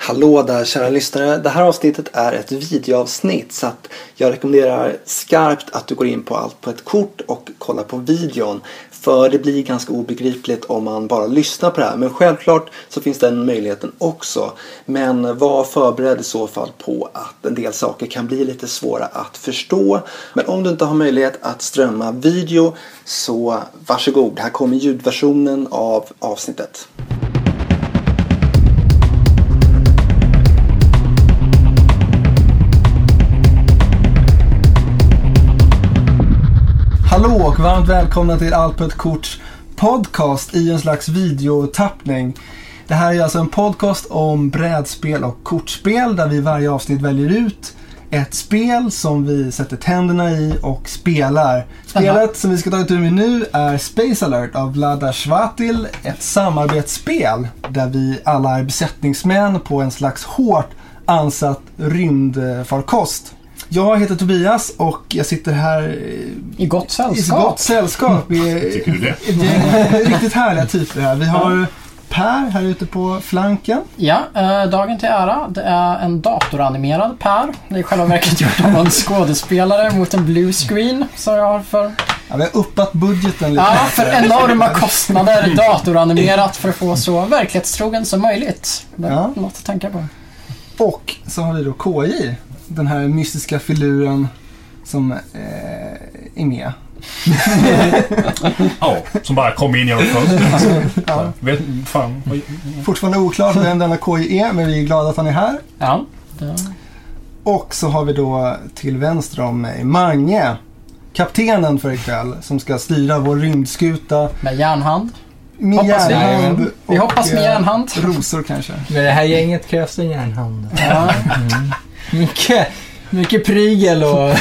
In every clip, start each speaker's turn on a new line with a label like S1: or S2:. S1: Hallå där kära lyssnare. Det här avsnittet är ett videoavsnitt så att jag rekommenderar skarpt att du går in på allt på ett kort och kollar på videon. För det blir ganska obegripligt om man bara lyssnar på det här. Men självklart så finns den möjligheten också. Men var förberedd i så fall på att en del saker kan bli lite svåra att förstå. Men om du inte har möjlighet att strömma video så varsågod. Här kommer ljudversionen av avsnittet. Hallå och varmt välkomna till Allt på ett kort podcast i en slags videotappning. Det här är alltså en podcast om brädspel och kortspel där vi i varje avsnitt väljer ut ett spel som vi sätter tänderna i och spelar. Spelet som vi ska ta itu med nu är Space Alert av Vlada Svatil, ett samarbetsspel där vi alla är besättningsmän på en slags hårt ansatt rymdfarkost. Jag heter Tobias och jag sitter här eh,
S2: I gott
S1: i
S2: sällskap.
S1: gott sällskap.
S2: Mm.
S1: Vi
S3: Tycker du det?
S1: är riktigt härliga typer här. Vi har Per här ute på flanken.
S2: Ja, eh, dagen till ära. Det är en datoranimerad Per. Det är i själva verket gjort av en skådespelare mot en blue screen som jag har för,
S1: Ja, vi har uppat budgeten lite.
S2: ja, för enorma kostnader datoranimerat för att få så verklighetstrogen som möjligt. Det är
S1: Ja.
S2: något att tänka på.
S1: Och så har vi då KJ. Den här mystiska filuren som eh, är med.
S3: Ja, som bara kom in genom fönstret.
S1: Ja.
S3: Vet, fan. vad-
S1: Fortfarande oklart vem denna KJ är, men vi är glada att han är här.
S2: Ja. det-
S1: Och så har vi då till vänster om mig Mange. Kaptenen för ikväll som ska styra vår rymdskuta
S2: Med järnhand.
S1: med
S2: Hoppas vi.
S1: järnhand.
S2: Vi
S1: och,
S2: hoppas med
S1: eh,
S2: järnhand.
S1: Rosor kanske.
S4: Med det här gänget krävs det en järnhand.
S2: Ja.
S4: Mycket, mycket prygel och...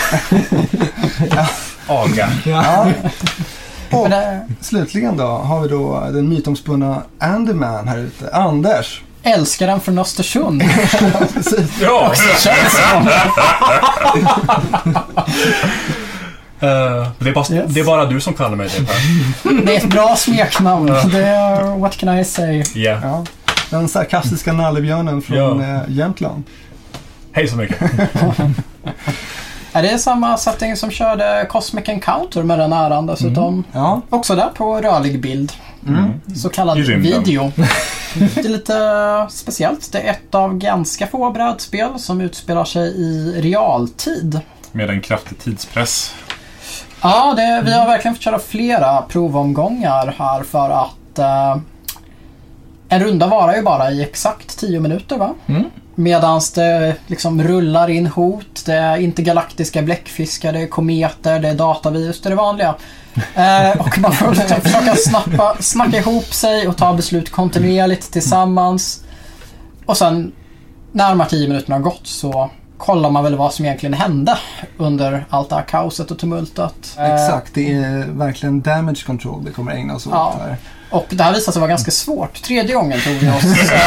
S3: Aga.
S1: Ja. Och
S2: Men det-
S1: Slutligen då har vi då den mytomspunna Andyman här ute. Anders.
S2: Älskaren från Östersund.
S1: Precis.
S3: Ja!
S2: Känns som.
S3: Eh, det, är bara,
S2: Yes.
S3: det är bara du som kallar mig det Per.
S2: Det är ett bra smeknamn. Det är, what can I say?
S3: Yeah.
S1: Ja. Den sarkastiska nallebjörnen från
S3: Ja.
S1: eh, Jämtland.
S3: Hej så mycket.
S2: Är det samma setting som körde Cosmic Encounter med den äran dessutom?
S3: Mm.
S1: Ja.
S2: Också där på rörlig bild.
S1: Mm.
S2: Så kallad
S3: I rymden.
S2: video. Det är lite speciellt. Det är ett av ganska få brädspel som utspelar sig i realtid.
S3: Med en kraftig tidspress.
S2: Ja, det, vi har verkligen fått köra flera provomgångar här för att eh, en runda varar ju bara i exakt 10 minuter va?
S4: Mm.
S2: Medan det liksom rullar in hot, det är intergalaktiska bläckfiskar, det är kometer, det är datavirus, det är det vanliga. Eh, och man får liksom försöka snappa, snacka ihop sig och ta beslut kontinuerligt tillsammans. Och sen när de här 10 minuterna har gått så kollar man väl vad som egentligen hände under allt det här kaoset och tumultet. Eh,
S1: Exakt, det är verkligen damage control vi kommer ägna oss åt
S2: Ja.
S1: här.
S2: Och det här visade sig vara ganska svårt. Tredje gången tog vi oss. eh,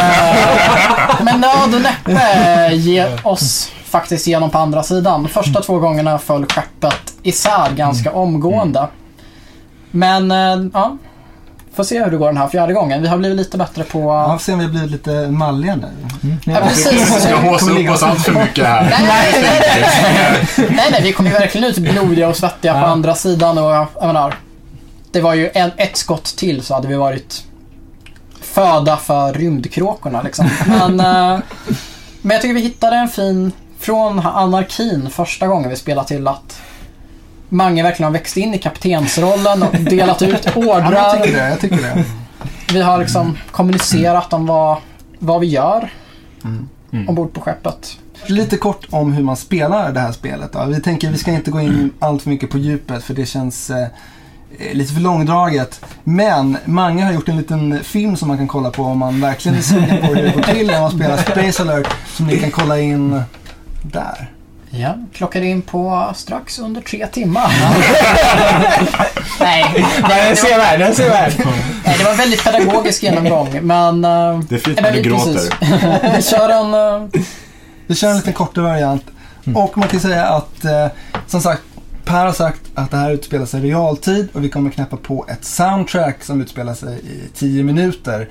S2: Men nöd och näppe ge oss faktiskt igenom på andra sidan. Första två gångerna föll skeppet isär ganska omgående. Men eh, ja, får se hur det går den här fjärde gången. Vi har blivit lite bättre på...
S1: Ja, får se om vi har blivit lite malliga nu.
S2: Ja, precis.
S5: ska håsa upp oss allt för mycket här.
S2: Nej, nej, nej, nej, nej. nej, nej, vi kom ju verkligen ut blodiga och svettiga på andra sidan och jag menar, det var ju en, ett skott till så hade vi varit föda för rymdkråkorna liksom. Men, eh, men jag tycker vi hittade en fin, från anarkin första gången vi spelade till att Mange verkligen har växt in i kaptensrollen och delat ut
S1: Ja, men jag
S2: ordrar.
S1: tycker det. Jag tycker det.
S2: Vi har liksom kommunicerat om vad, vad vi gör
S1: Mm.
S2: ombord på skeppet.
S1: Lite kort om hur man spelar det här spelet då. Vi tänker vi ska inte gå in allt för mycket på djupet för det känns eh, lite för långdraget. Men Mange har gjort en liten film som man kan kolla på om man verkligen är sugen på hur det går till när man spelar Space Alert som ni kan kolla in där.
S2: Ja, klockade in på strax under tre timmar. Nej,
S4: Den ser värd, den ser värd.
S2: nej, det var en väldigt pedagogisk genomgång. Men, eh,
S5: Det är fint
S2: nej,
S5: när du
S2: men precis.
S5: gråter.
S2: Vi kör en... eh,
S1: Vi kör en liten kortare variant. Och man kan säga att, eh, som sagt, Per har sagt att det här utspelar sig i realtid och vi kommer knäppa på ett soundtrack som utspelar sig i 10 minuter.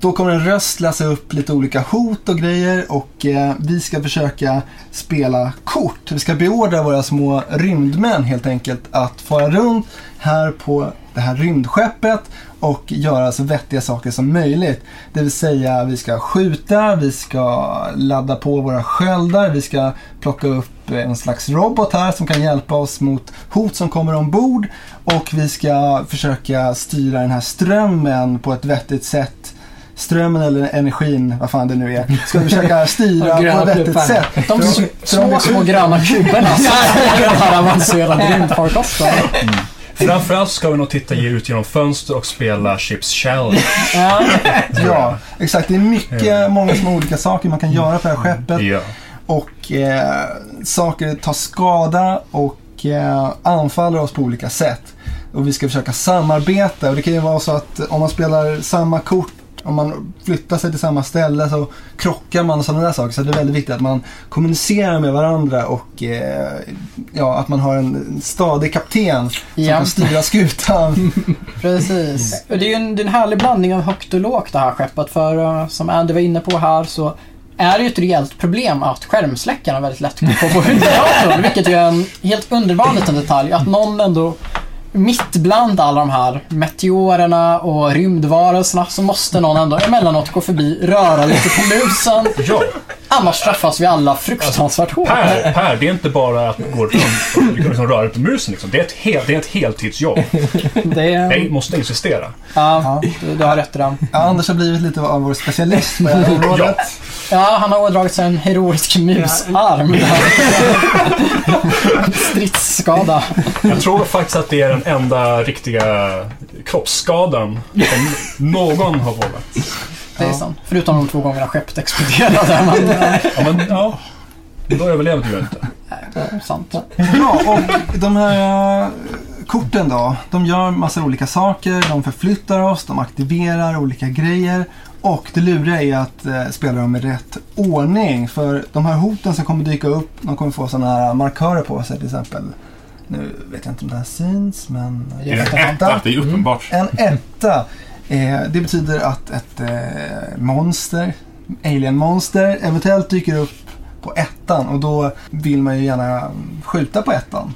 S6: Då kommer en röst läsa upp lite olika hot och grejer och eh, vi ska försöka spela kort. Vi ska beordra våra små rymdmän helt enkelt att fara runt här på det här rymdskeppet och göra så vettiga saker som möjligt. Det vill säga vi ska skjuta, vi ska ladda på våra sköldar, vi ska plocka upp en slags robot här som kan hjälpa oss mot hot som kommer ombord och vi ska försöka styra den här strömmen på ett vettigt sätt. Strömmen eller energin, vad fan det nu är, ska vi försöka styra
S4: Och
S6: på
S4: gröna
S6: ett vettigt
S4: pluppar.
S6: sätt.
S2: De
S6: För om- för om
S2: små,
S6: vi
S2: små gröna kuberna som den här avancerade rymdfarkosten.
S3: Framförallt ska vi nog titta ge ut genom fönster och spela Chips Challenge.
S2: Ja.
S6: Ja, exakt. Det är mycket,
S3: Ja.
S6: många små olika saker man kan göra på det här skeppet.
S3: Ja.
S6: Och eh, saker tar skada och eh, anfaller oss på olika sätt. Och vi ska försöka samarbeta. Och det kan ju vara så att om man spelar samma kort, om man flyttar sig till samma ställe så krockar man och sådana där saker. Så det är väldigt viktigt att man kommunicerar med varandra och eh, ja, att man har en stadig kapten som
S2: Ja.
S6: kan styra skutan.
S2: Precis. Mm. Och Det är ju en, det är en härlig blandning av högt och lågt det här skeppet. För eh, som Andy var inne på här så är det ju ett rejält problem att skärmsläckarna väldigt lätt går på huvuddatorn. Vilket ju är en helt underbar liten detalj. Att någon ändå mitt bland alla de här meteorerna och rymdvarelserna så måste någon ändå emellanåt gå förbi, röra lite på lusen.
S3: ja.
S2: Annars straffas vi alla fruktansvärt hårt.
S3: Per, per, det är inte bara att gå runt och liksom röra på musen. Liksom. Det, är ett helt, det är ett heltidsjobb.
S2: Det är,
S3: Jag måste insistera.
S2: ja, du, du har rätt i den.
S6: Ja, Anders har blivit lite av vår specialist på det här området.
S2: Ja, han har ådragit sig en heroisk musarm. Stridsskada.
S3: Jag tror faktiskt att det är den enda riktiga kroppsskadan som någon har vållat.
S2: Det är sant. Förutom de två gångerna skeppet exploderade. Men, eh,
S3: Ja, men ja. Då överlevde du inte.
S2: sant.
S6: Ja, och de här eh, korten då. De gör massor olika saker. De förflyttar oss, de aktiverar olika grejer. Och det luriga är att eh, spela dem i rätt ordning. För de här hoten som kommer dyka upp, de kommer få sådana här markörer på sig till exempel. Nu vet jag inte om det här syns, men...
S2: Det är
S6: En etta.
S7: Det är uppenbart.
S6: En etta. Eh, det betyder att ett eh, monster, alien-monster, eventuellt dyker upp på ettan och då vill man ju gärna skjuta på ettan.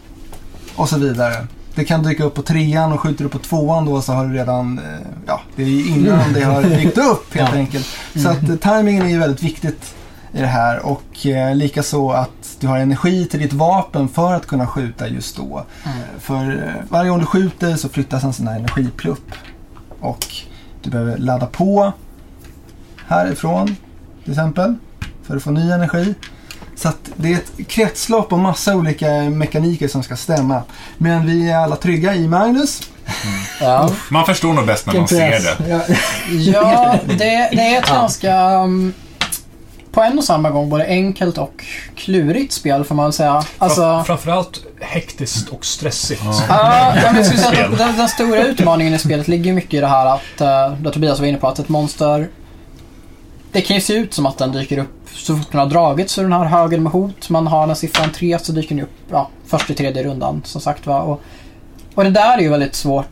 S6: Och så vidare. Det kan dyka upp på trean och skjuter du på tvåan då så har du redan, eh, ja, det är ju innan det har dykt upp helt
S2: Ja.
S6: enkelt. Så att eh, timingen är ju väldigt viktigt i det här och eh, likaså att du har energi till ditt vapen för att kunna skjuta just då. För eh, varje gång du skjuter så flyttas en sån här energiplupp. Och du behöver ladda på härifrån till exempel. För att få ny energi. Så att det är ett kretslopp och massa olika mekaniker som ska stämma. Men vi är alla trygga i Magnus.
S2: Ja,
S7: Man förstår nog bäst när man ser det.
S2: ja det, det är ett ganska... um, på en och samma gång både enkelt och klurigt spel får man väl säga. Alltså,
S3: Fram- Framförallt hektiskt och stressigt.
S2: Ja, jag skulle säga att den, den stora utmaningen i spelet ligger ju mycket i det här att, eh, det Tobias var inne på, att ett monster det kan ju se ut som att den dyker upp så fort den har dragits ur den här högen med hot. Man har den siffran 3 så dyker den upp ja, först i tredje rundan som sagt va. Och, och det där är ju väldigt svårt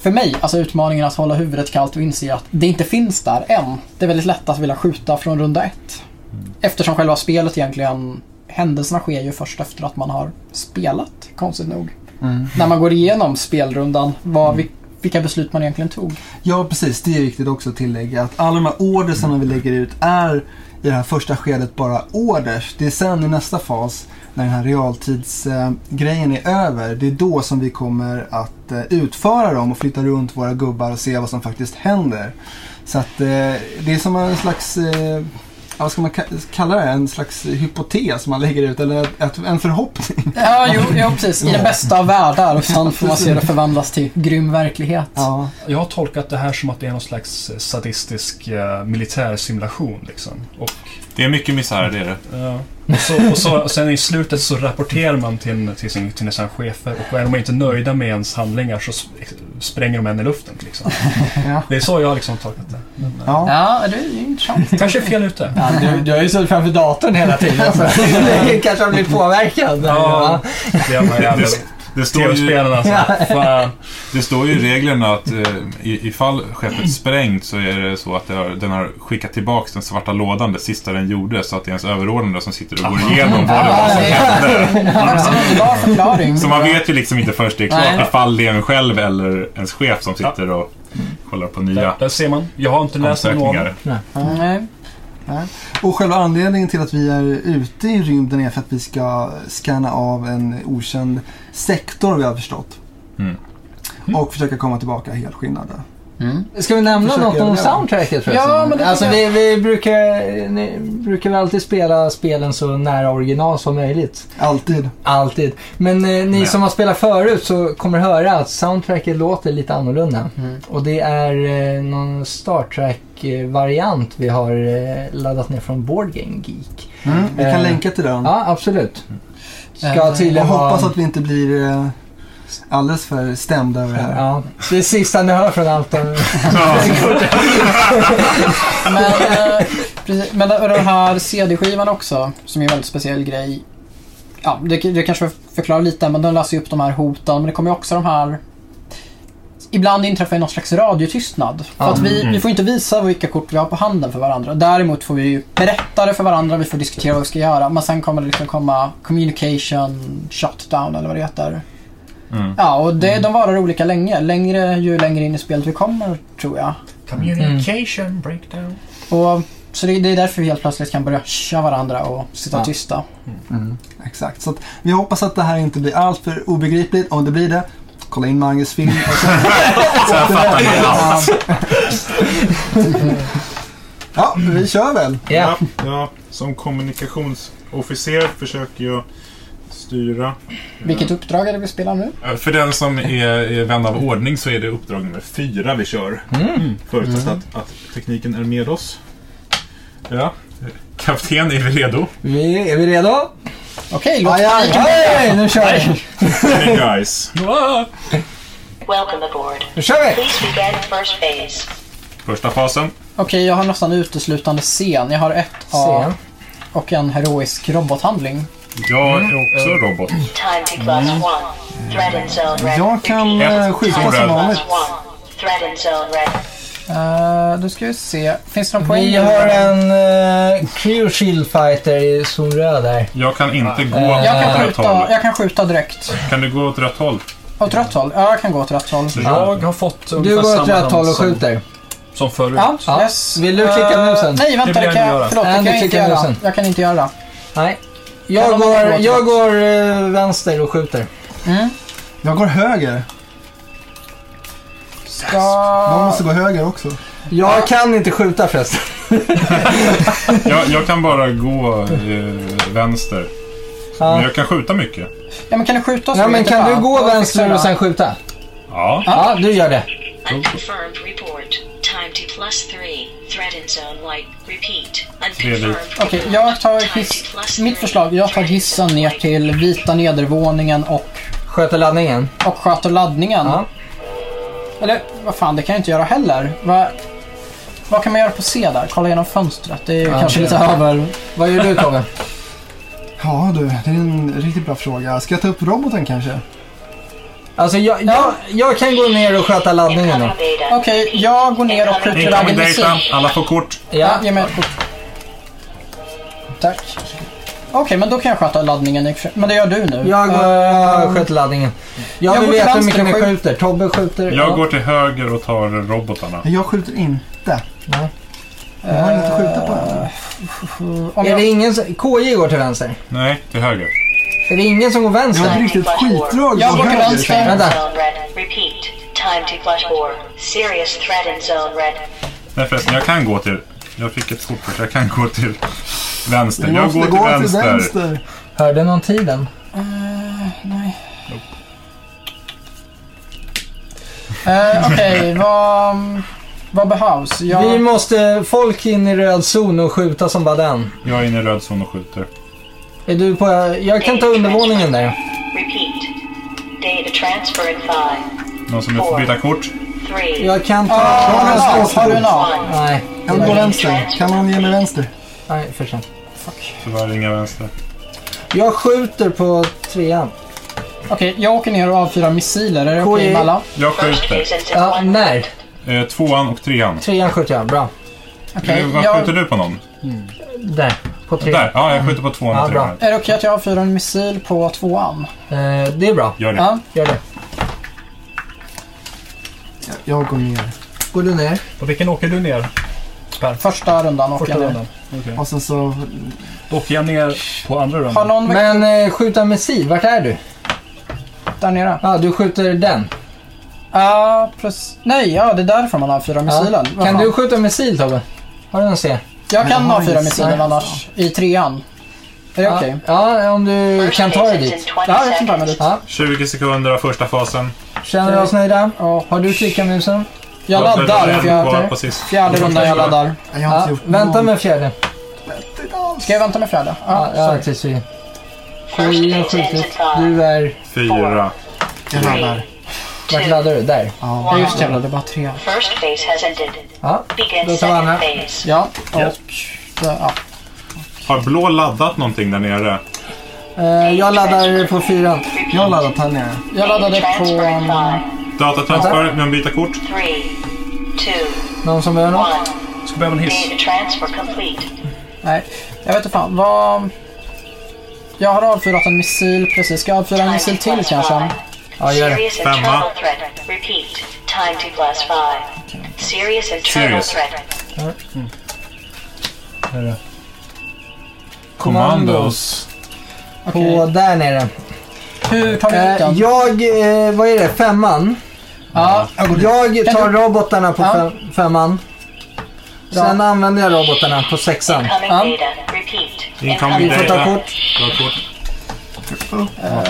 S2: för mig. Alltså utmaningen att hålla huvudet kallt och inse att det inte finns där än. Det är väldigt lätt att vilja skjuta från runda ett. Eftersom själva spelet egentligen, händelserna sker ju först efter att man har spelat, konstigt nog när man går igenom spelrundan vad, vi- vilka beslut man egentligen tog.
S6: Ja, precis. Det är viktigt också att tillägga att alla de här orders som vi lägger ut är i det här första skedet bara orders. Det är sen i nästa fas, när den här realtidsgrejen är över, det är då som vi kommer att eh, utföra dem och flytta runt våra gubbar och se vad som faktiskt händer. Så att eh, det är som en slags, eh, ja, vad ska man ka- kalla det, en slags hypotes man lägger ut, eller ett, en förhoppning.
S2: Ja, jo, jo precis. I den bästa av världar och sen får man se det förvandlas till grym verklighet.
S6: Ja,
S3: Jag har tolkat det här som att det är någon slags sadistisk eh, militär simulation. Liksom. Och,
S7: Det är mycket misär, det är det.
S3: eh, och, så, och, så, och sen i slutet så rapporterar man till, till, sin, till sina chefer och är de inte nöjda med ens handlingar så sp- spränger de en i luften. Liksom.
S6: Ja.
S3: Det är så jag har liksom tolkat det. Men, eh,
S6: ja.
S2: Ja, det är ju intressant.
S3: Kanske är fel ute.
S4: Ja, du, du har ju suttit framför datorn hela tiden. Så. du kanske har blivit påverkad.
S3: det är man jävla-
S7: Det står ju,
S3: Tv-spelen alltså. Fan.
S7: det står ju i reglerna att eh, i- ifall skeppet sprängt så är det så att det har, den har skickat tillbaka den svarta lådan det sista den gjorde så att det är ens överordnade som sitter och går igenom vad det var som hände.
S2: en bra Alltså, förklaring.
S7: Så man vet ju liksom inte först det är
S2: Nej.
S7: klart ifall det är en själv eller ens chef som sitter och kollar på nya
S3: Där, där ser man. Jag har inte läst någon.
S7: ansökningar.
S2: Mm, Nej.
S6: Och själva anledningen till att vi är ute i rymden är för att vi ska scanna av en okänd sektor vi har förstått.
S7: Mm.
S6: Och försöka komma tillbaka helskinnade.
S2: Mm.
S4: Ska vi nämna
S6: Försöker
S4: något om
S6: jag.
S4: soundtracket förresten?
S2: Ja, men det
S4: alltså,
S2: tycker
S4: vi, vi brukar, ni, brukar väl alltid spela spelen så nära original som möjligt.
S6: Alltid.
S4: Alltid. Men eh, ni
S7: Nej.
S4: som har spelat förut så kommer höra att soundtracket låter lite annorlunda.
S2: Mm.
S4: Och det är eh, någon Star Trek-variant vi har eh, laddat ner från Board Game Geek.
S6: Mm. Vi kan
S4: Eh,
S6: länka till den.
S4: Ja, absolut. Ska
S2: Eh,
S6: Jag
S4: tydligen
S6: hoppas
S4: vara-
S6: att vi inte blir eh, alldeles för stämda över det här.
S4: Ja, det är sista ni hör från Anton.
S2: Men, eh, precis, men den den här CD-skivan också, som är en väldigt speciell grej. Ja, det, det kanske förklarar lite, men den löser ju upp de här hoten. Men det kommer ju också de här... Ibland inträffar ju någon slags radiotystnad. För
S4: Ja.
S2: att vi,
S7: Mm.
S2: vi får inte visa vilka kort vi har på handen för varandra. Däremot får vi ju berätta det för varandra, vi får diskutera vad vi ska göra. Men sen kommer det liksom komma communication shutdown eller vad det heter.
S7: Mm.
S2: Ja, och det, de varar olika länge. Längre ju längre in i spelet vi kommer, tror jag.
S3: Communication
S4: Mm.
S3: breakdown.
S2: Och, så det, det är därför vi helt plötsligt kan börja tja varandra och sitta
S4: Ja.
S2: tysta.
S6: Exakt. Så att vi hoppas att det här inte blir alltför obegripligt. Om det blir det, kolla in Manges film. Och sen...
S7: Så jag fattar ni allt.
S6: Ja, vi kör väl.
S4: Ja.
S8: ja, som kommunikationsofficer försöker jag styra.
S2: Vilket uppdrag är det vi spelar nu?
S7: Eh, För den som är, är vän av ordning så är det uppdrag nummer fyra vi kör.
S4: Mm.
S7: Förutsatt
S2: Mm.
S7: att, att tekniken är med oss. Ja. Kapten, är vi redo?
S4: Vi, är vi redo?
S2: Okej, låt
S6: Aj, aj, aj.
S4: Hej, nu kör vi!
S7: Hey guys.
S3: Ah!
S9: Welcome aboard.
S4: Nu kör vi!
S9: Please begin first phase.
S7: Första fasen.
S2: Okej, jag har nästan uteslutande scen. Jag har ett A
S4: Se.
S2: och en heroisk robothandling.
S7: Jag är också robot.
S9: Time to class
S2: Mm-hmm.
S9: one. Threat in zone red.
S6: Jag kan eh, skjuta
S7: Stora.
S6: som vanligt.
S9: one. Threat in zone red.
S2: Uh, då ska vi se. Finns det någon poäng?
S4: Vi har en uh, Creo Shield Fighter i zon röd där.
S7: Jag kan inte gå
S4: Jag
S2: jag,
S7: åt
S3: Eh,
S2: kan
S7: rätt håll.
S2: skjuta, jag kan skjuta direkt.
S7: Kan du gå åt rätt håll?
S2: Åt rött håll? Ja, jag kan gå åt rätt håll.
S3: Jag har fått
S4: Du
S3: ungefär
S4: går åt
S3: samma
S4: rätt håll
S3: hand
S4: och
S3: som-
S4: skjuter.
S3: Som förut.
S2: Ja,
S4: Ja.
S2: yes.
S4: Vill du klicka
S2: Eh,
S4: nu sen?
S2: Nej,
S3: Det
S2: vänta.
S3: vill
S2: Det kan
S3: jag inte
S2: jag,
S3: göra.
S2: förlåt,
S4: Nej,
S2: det
S4: du
S2: kan jag inte
S4: klickar nu
S2: göra.
S4: sen.
S2: Jag kan inte göra.
S4: Nej.
S2: Kan
S4: Jag
S2: de
S4: går,
S2: gå åt
S4: jag går eh, vänster och skjuter.
S6: Jag går höger. Någon
S2: Ja,
S6: måste gå höger också.
S4: Jag kan inte skjuta förresten.
S7: Jag, jag kan bara gå eh, vänster. Men
S4: Ja.
S7: jag kan skjuta mycket.
S2: Ja, men kan du skjuta så
S4: Ja,
S2: vi
S4: men
S2: inte
S4: kan
S2: bara-
S4: du gå
S2: Då fixar
S4: vänster
S2: jag.
S4: och sen skjuta?
S7: Ja.
S4: Ja, du gör det.
S2: Oh.
S9: Unconfirmed report. Time to plus three. Threat in zone light. Repeat.
S7: Trevligt.
S9: Unconfirmed.
S2: Okej, jag tar
S9: Time to
S2: hiss,
S9: plus
S2: mitt
S9: three.
S2: förslag. Jag tar
S9: Threat in
S2: hissen
S9: zone
S2: ner
S9: light.
S2: till vita nedervåningen och,
S4: Sköter laddningen.
S2: och sköter laddningen.
S4: Ja.
S2: Eller vad fan, det kan jag inte göra heller. Va, vad kan man göra på C där? Kolla genom fönstret. Det är ju
S4: Ja,
S2: kanske
S4: det-
S2: lite över.
S4: Vad gör du Tobbe?
S6: Ja du, det är en riktigt bra fråga. Ska jag ta upp roboten kanske?
S4: Alltså jag, jag, jag kan gå ner och sköta laddningen då.
S9: Incoming data.
S2: Okej, jag går ner och skjuter
S7: Incoming
S2: laddning med C.
S7: data. Alla får kort.
S2: Ja,
S4: Ja.
S2: ge mig ett kort. Tack. Okej, men då kan jag sköta laddningen. i och för sig. Men det gör du nu.
S4: Jag går, jag sköter laddningen. Jag
S2: Eh. Jag
S4: vill
S2: går till
S4: veta hur
S2: vänster
S4: mycket ni
S2: och skjuter.
S4: skjuter. Tobbe skjuter.
S7: Jag går till höger och tar robotarna.
S6: Nej, Jag skjuter inte.
S4: Nej.
S6: Jag har inte skjuta på den.
S2: Om
S4: Är
S2: jag,
S4: det ingen som, KJ går till vänster.
S7: Nej, till höger.
S4: Är det ingen som går
S6: Det var ett
S4: vänster?
S6: riktigt skitdrag.
S2: Jag
S6: på
S2: går till
S6: höger,
S2: vänster.
S6: känner jag.
S4: Vänta.
S9: Zone red. Repeat. Time to plus four. Serious threat in zone red.
S7: Nej förresten, jag kan gå till... Jag fick ett kort först. Jag kan gå till vänster.
S6: Vi
S7: Jag
S6: måste
S7: går till
S6: gå till
S7: vänster.
S6: vänster.
S4: Hörde någon tiden?
S2: eh, Okej, vad, vad behövs? Jag,
S4: Vi måste folk in i röd zon och skjuta som bara den.
S7: Jag är inne i röd zon och skjuter.
S4: Är du på... Jag kan ta undervåningen där.
S9: Repeat. Data transfer in five.
S7: Någon som vill byta kort?
S9: Three.
S4: Jag kan ta...
S6: Jag har en
S2: Ja,
S6: slå
S2: har du en
S6: på.
S2: A?
S9: One.
S4: Nej.
S6: Jag går vänster. Kan någon ge mig vänster?
S4: Nej, för sent.
S7: Tyvärr inga vänster.
S4: Jag skjuter på trean.
S2: Okej, jag åker ner och avfyrar missiler. Är det okej
S4: KJ?
S2: med alla?
S7: Jag
S9: Both
S7: skjuter.
S9: accusants have
S4: Ja,
S9: one
S4: när?
S7: Eh, tvåan och trean.
S4: Trean skjuter jag. Bra.
S2: Okej,
S7: Eh, Vad
S2: jag...
S7: skjuter du på någon?
S4: Där. På trean.
S7: Där, ja jag skjuter på tvåan
S4: Ja,
S7: och
S4: bra.
S7: trean.
S2: Är det okej att jag avfyrar en missil på tvåan?
S4: Eh, det är bra.
S7: Gör det.
S2: Ja.
S4: Gör det.
S6: Jag går ner.
S4: Går du ner?
S3: På vilken åker du ner?
S2: Första rundan åker jag
S3: Första
S2: ner.
S3: rundan? Okej.
S6: Och sen så...
S3: Då åker jag ner på andra
S2: Har
S3: rundan.
S2: någon väckt
S4: Men eh, skjuta missil. Vart är du?
S2: där nere?
S4: Ja, du skjuter den.
S2: Ja, plus... Nej, ja, det är därför man avfyrar missilen.
S4: Ja.
S2: Vad
S4: Kan
S2: fan.
S4: du skjuta missil Tobbe? Har du någon C?
S2: Jag kan
S6: Nej,
S2: avfyra
S6: nej.
S2: missilen annars, i trean. Är det
S4: Ja.
S2: okej?
S4: Ja, om du
S9: First
S4: kan ta dig
S9: accusants
S4: dit.
S9: in 20
S2: Ja, jag kan ta mig
S9: seconds.
S2: dit.
S4: Ja.
S7: 20 sekunder av första fasen.
S4: Känner du oss nöjda?
S2: Och
S4: Har du klickarmusen?
S2: jag laddar, för jag...
S7: På, på sist.
S2: Fjärde rundan jag laddar.
S6: Nej, Jag har inte
S4: Ja,
S6: gjort
S4: vänta
S6: någonting
S4: med fjärde.
S6: alls.
S2: Ska jag vänta med fjärde?
S4: Ja,
S2: Ja,
S4: ja
S2: sorry.
S4: tills vi...
S9: First
S4: Jag har
S9: accusants in
S4: skjutit.
S9: five,
S4: Du är...
S7: Fyra.
S6: Jag laddar.
S4: Vart
S9: two,
S4: laddar du? Där.
S2: Ja,
S6: Ja.
S2: just jävlar, det är bara tre.
S9: first phase has ended.
S4: Ja.
S9: Begin
S4: Då tar vi
S9: second
S4: Anna.
S9: phase.
S2: Ja, och...
S7: Yes.
S2: Ja.
S7: Har blå laddat någonting där nere?
S4: Eh, jag laddar på fyran.
S6: Jag laddar Tanja.
S2: Jag laddade på...
S9: Transferring five,
S7: Datatransfer, men byta kort.
S9: three, two,
S4: Någon som behöver något?
S9: one.
S3: Ska behöva en hiss.
S9: Data transfer complete.
S2: Nej, jag vet inte fan. Vad... Jag har avfyrat en missil precis. Ska jag avfyra en missil till kanske?
S4: Ja, gör det.
S9: Serious internal threat. Repeat. Time T plus five. Serious internal
S7: Serious.
S9: threat.
S7: Commandos.
S2: Okej.
S4: På där nere.
S2: Hur tar vi ut
S4: Eh,
S2: den?
S4: jag... Eh, vad är det? Femman?
S2: Ja,
S4: Jag tar
S2: Kan
S4: robotarna på
S2: Ja.
S4: fem, femman. Sen använder jag robotarna på sexan.
S9: Incoming
S2: Um.
S9: data. Repeat.
S7: Incoming
S9: Incoming
S4: Vi får
S7: data.
S9: data.
S4: ta kort.
S7: Dra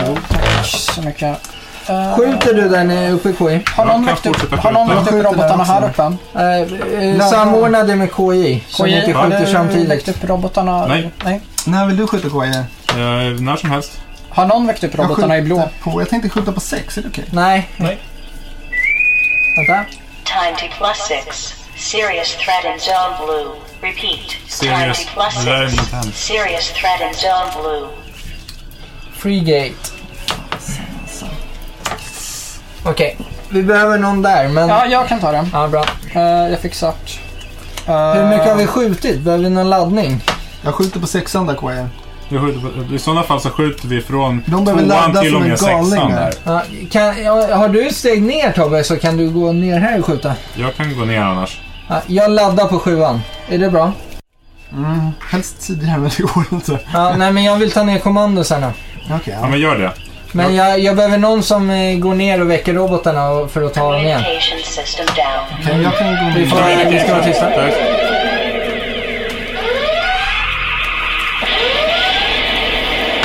S7: kort.
S2: så mycket. Eh,
S4: Skjuter du där nere uppe i KI?
S2: har någon
S7: Jag kan
S2: väckt upp,
S7: fortsätta
S2: har någon
S7: skjuta.
S2: väckt upp
S6: Jag skjuter
S2: robotarna
S6: där
S2: här
S6: också.
S2: uppe?
S4: Eh, eh, samordna det med KI. Så ni inte
S2: har
S4: skjuter
S2: du väckt
S4: samtidigt.
S2: upp robotarna?
S7: Nej.
S6: När vill du skjuta KJ?
S7: Eh, när som helst.
S2: Har någon väckt upp
S6: Jag
S2: robotarna i blå?
S6: skjuter På. Jag tänkte skjuta på sex, är det okej?
S4: Nej.
S3: Nej.
S4: Vänta.
S9: Time T plus six. Serious threat in zone blue. Repeat. Time
S7: Serious.
S9: T plus
S7: Det där är inte han.
S9: six. Serious threat in zone blue.
S4: Freegate. Okej. Vi behöver någon där, men...
S2: Ja,
S4: Ja,
S2: jag kan ta den.
S4: bra.
S2: Eh, jag fick svart. Eh,
S4: Hur mycket har vi skjutit? Behöver vi någon laddning?
S6: Jag skjuter på sexan där KJ.
S7: Vi skjuter på- I sådana fall så skjuter vi från
S6: De behöver
S7: tvåan
S6: ladda
S7: till och
S6: som en
S7: med
S6: galning
S7: sexan.
S6: där.
S7: Där.
S4: Ja, kan, ja, har du ett steg ner Tobbe så kan du gå ner här och skjuta.
S7: Jag kan gå ner annars.
S4: Ja, jag laddar på sjuan. Är det bra?
S6: Mm, helst tidigare men det går inte.
S4: Ja, nej, men jag vill ta ner kommandosarna.
S6: Okej,
S7: Ja,
S6: ja.
S7: men gör det.
S4: Men jag, jag behöver någon som eh, går ner och väcker robotarna och- för att ta
S2: Oh,
S4: dem igen.
S9: Communication system down.
S6: Okej, jag kan gå
S4: Vi, får,
S6: ner.
S4: vi ska vara tysta.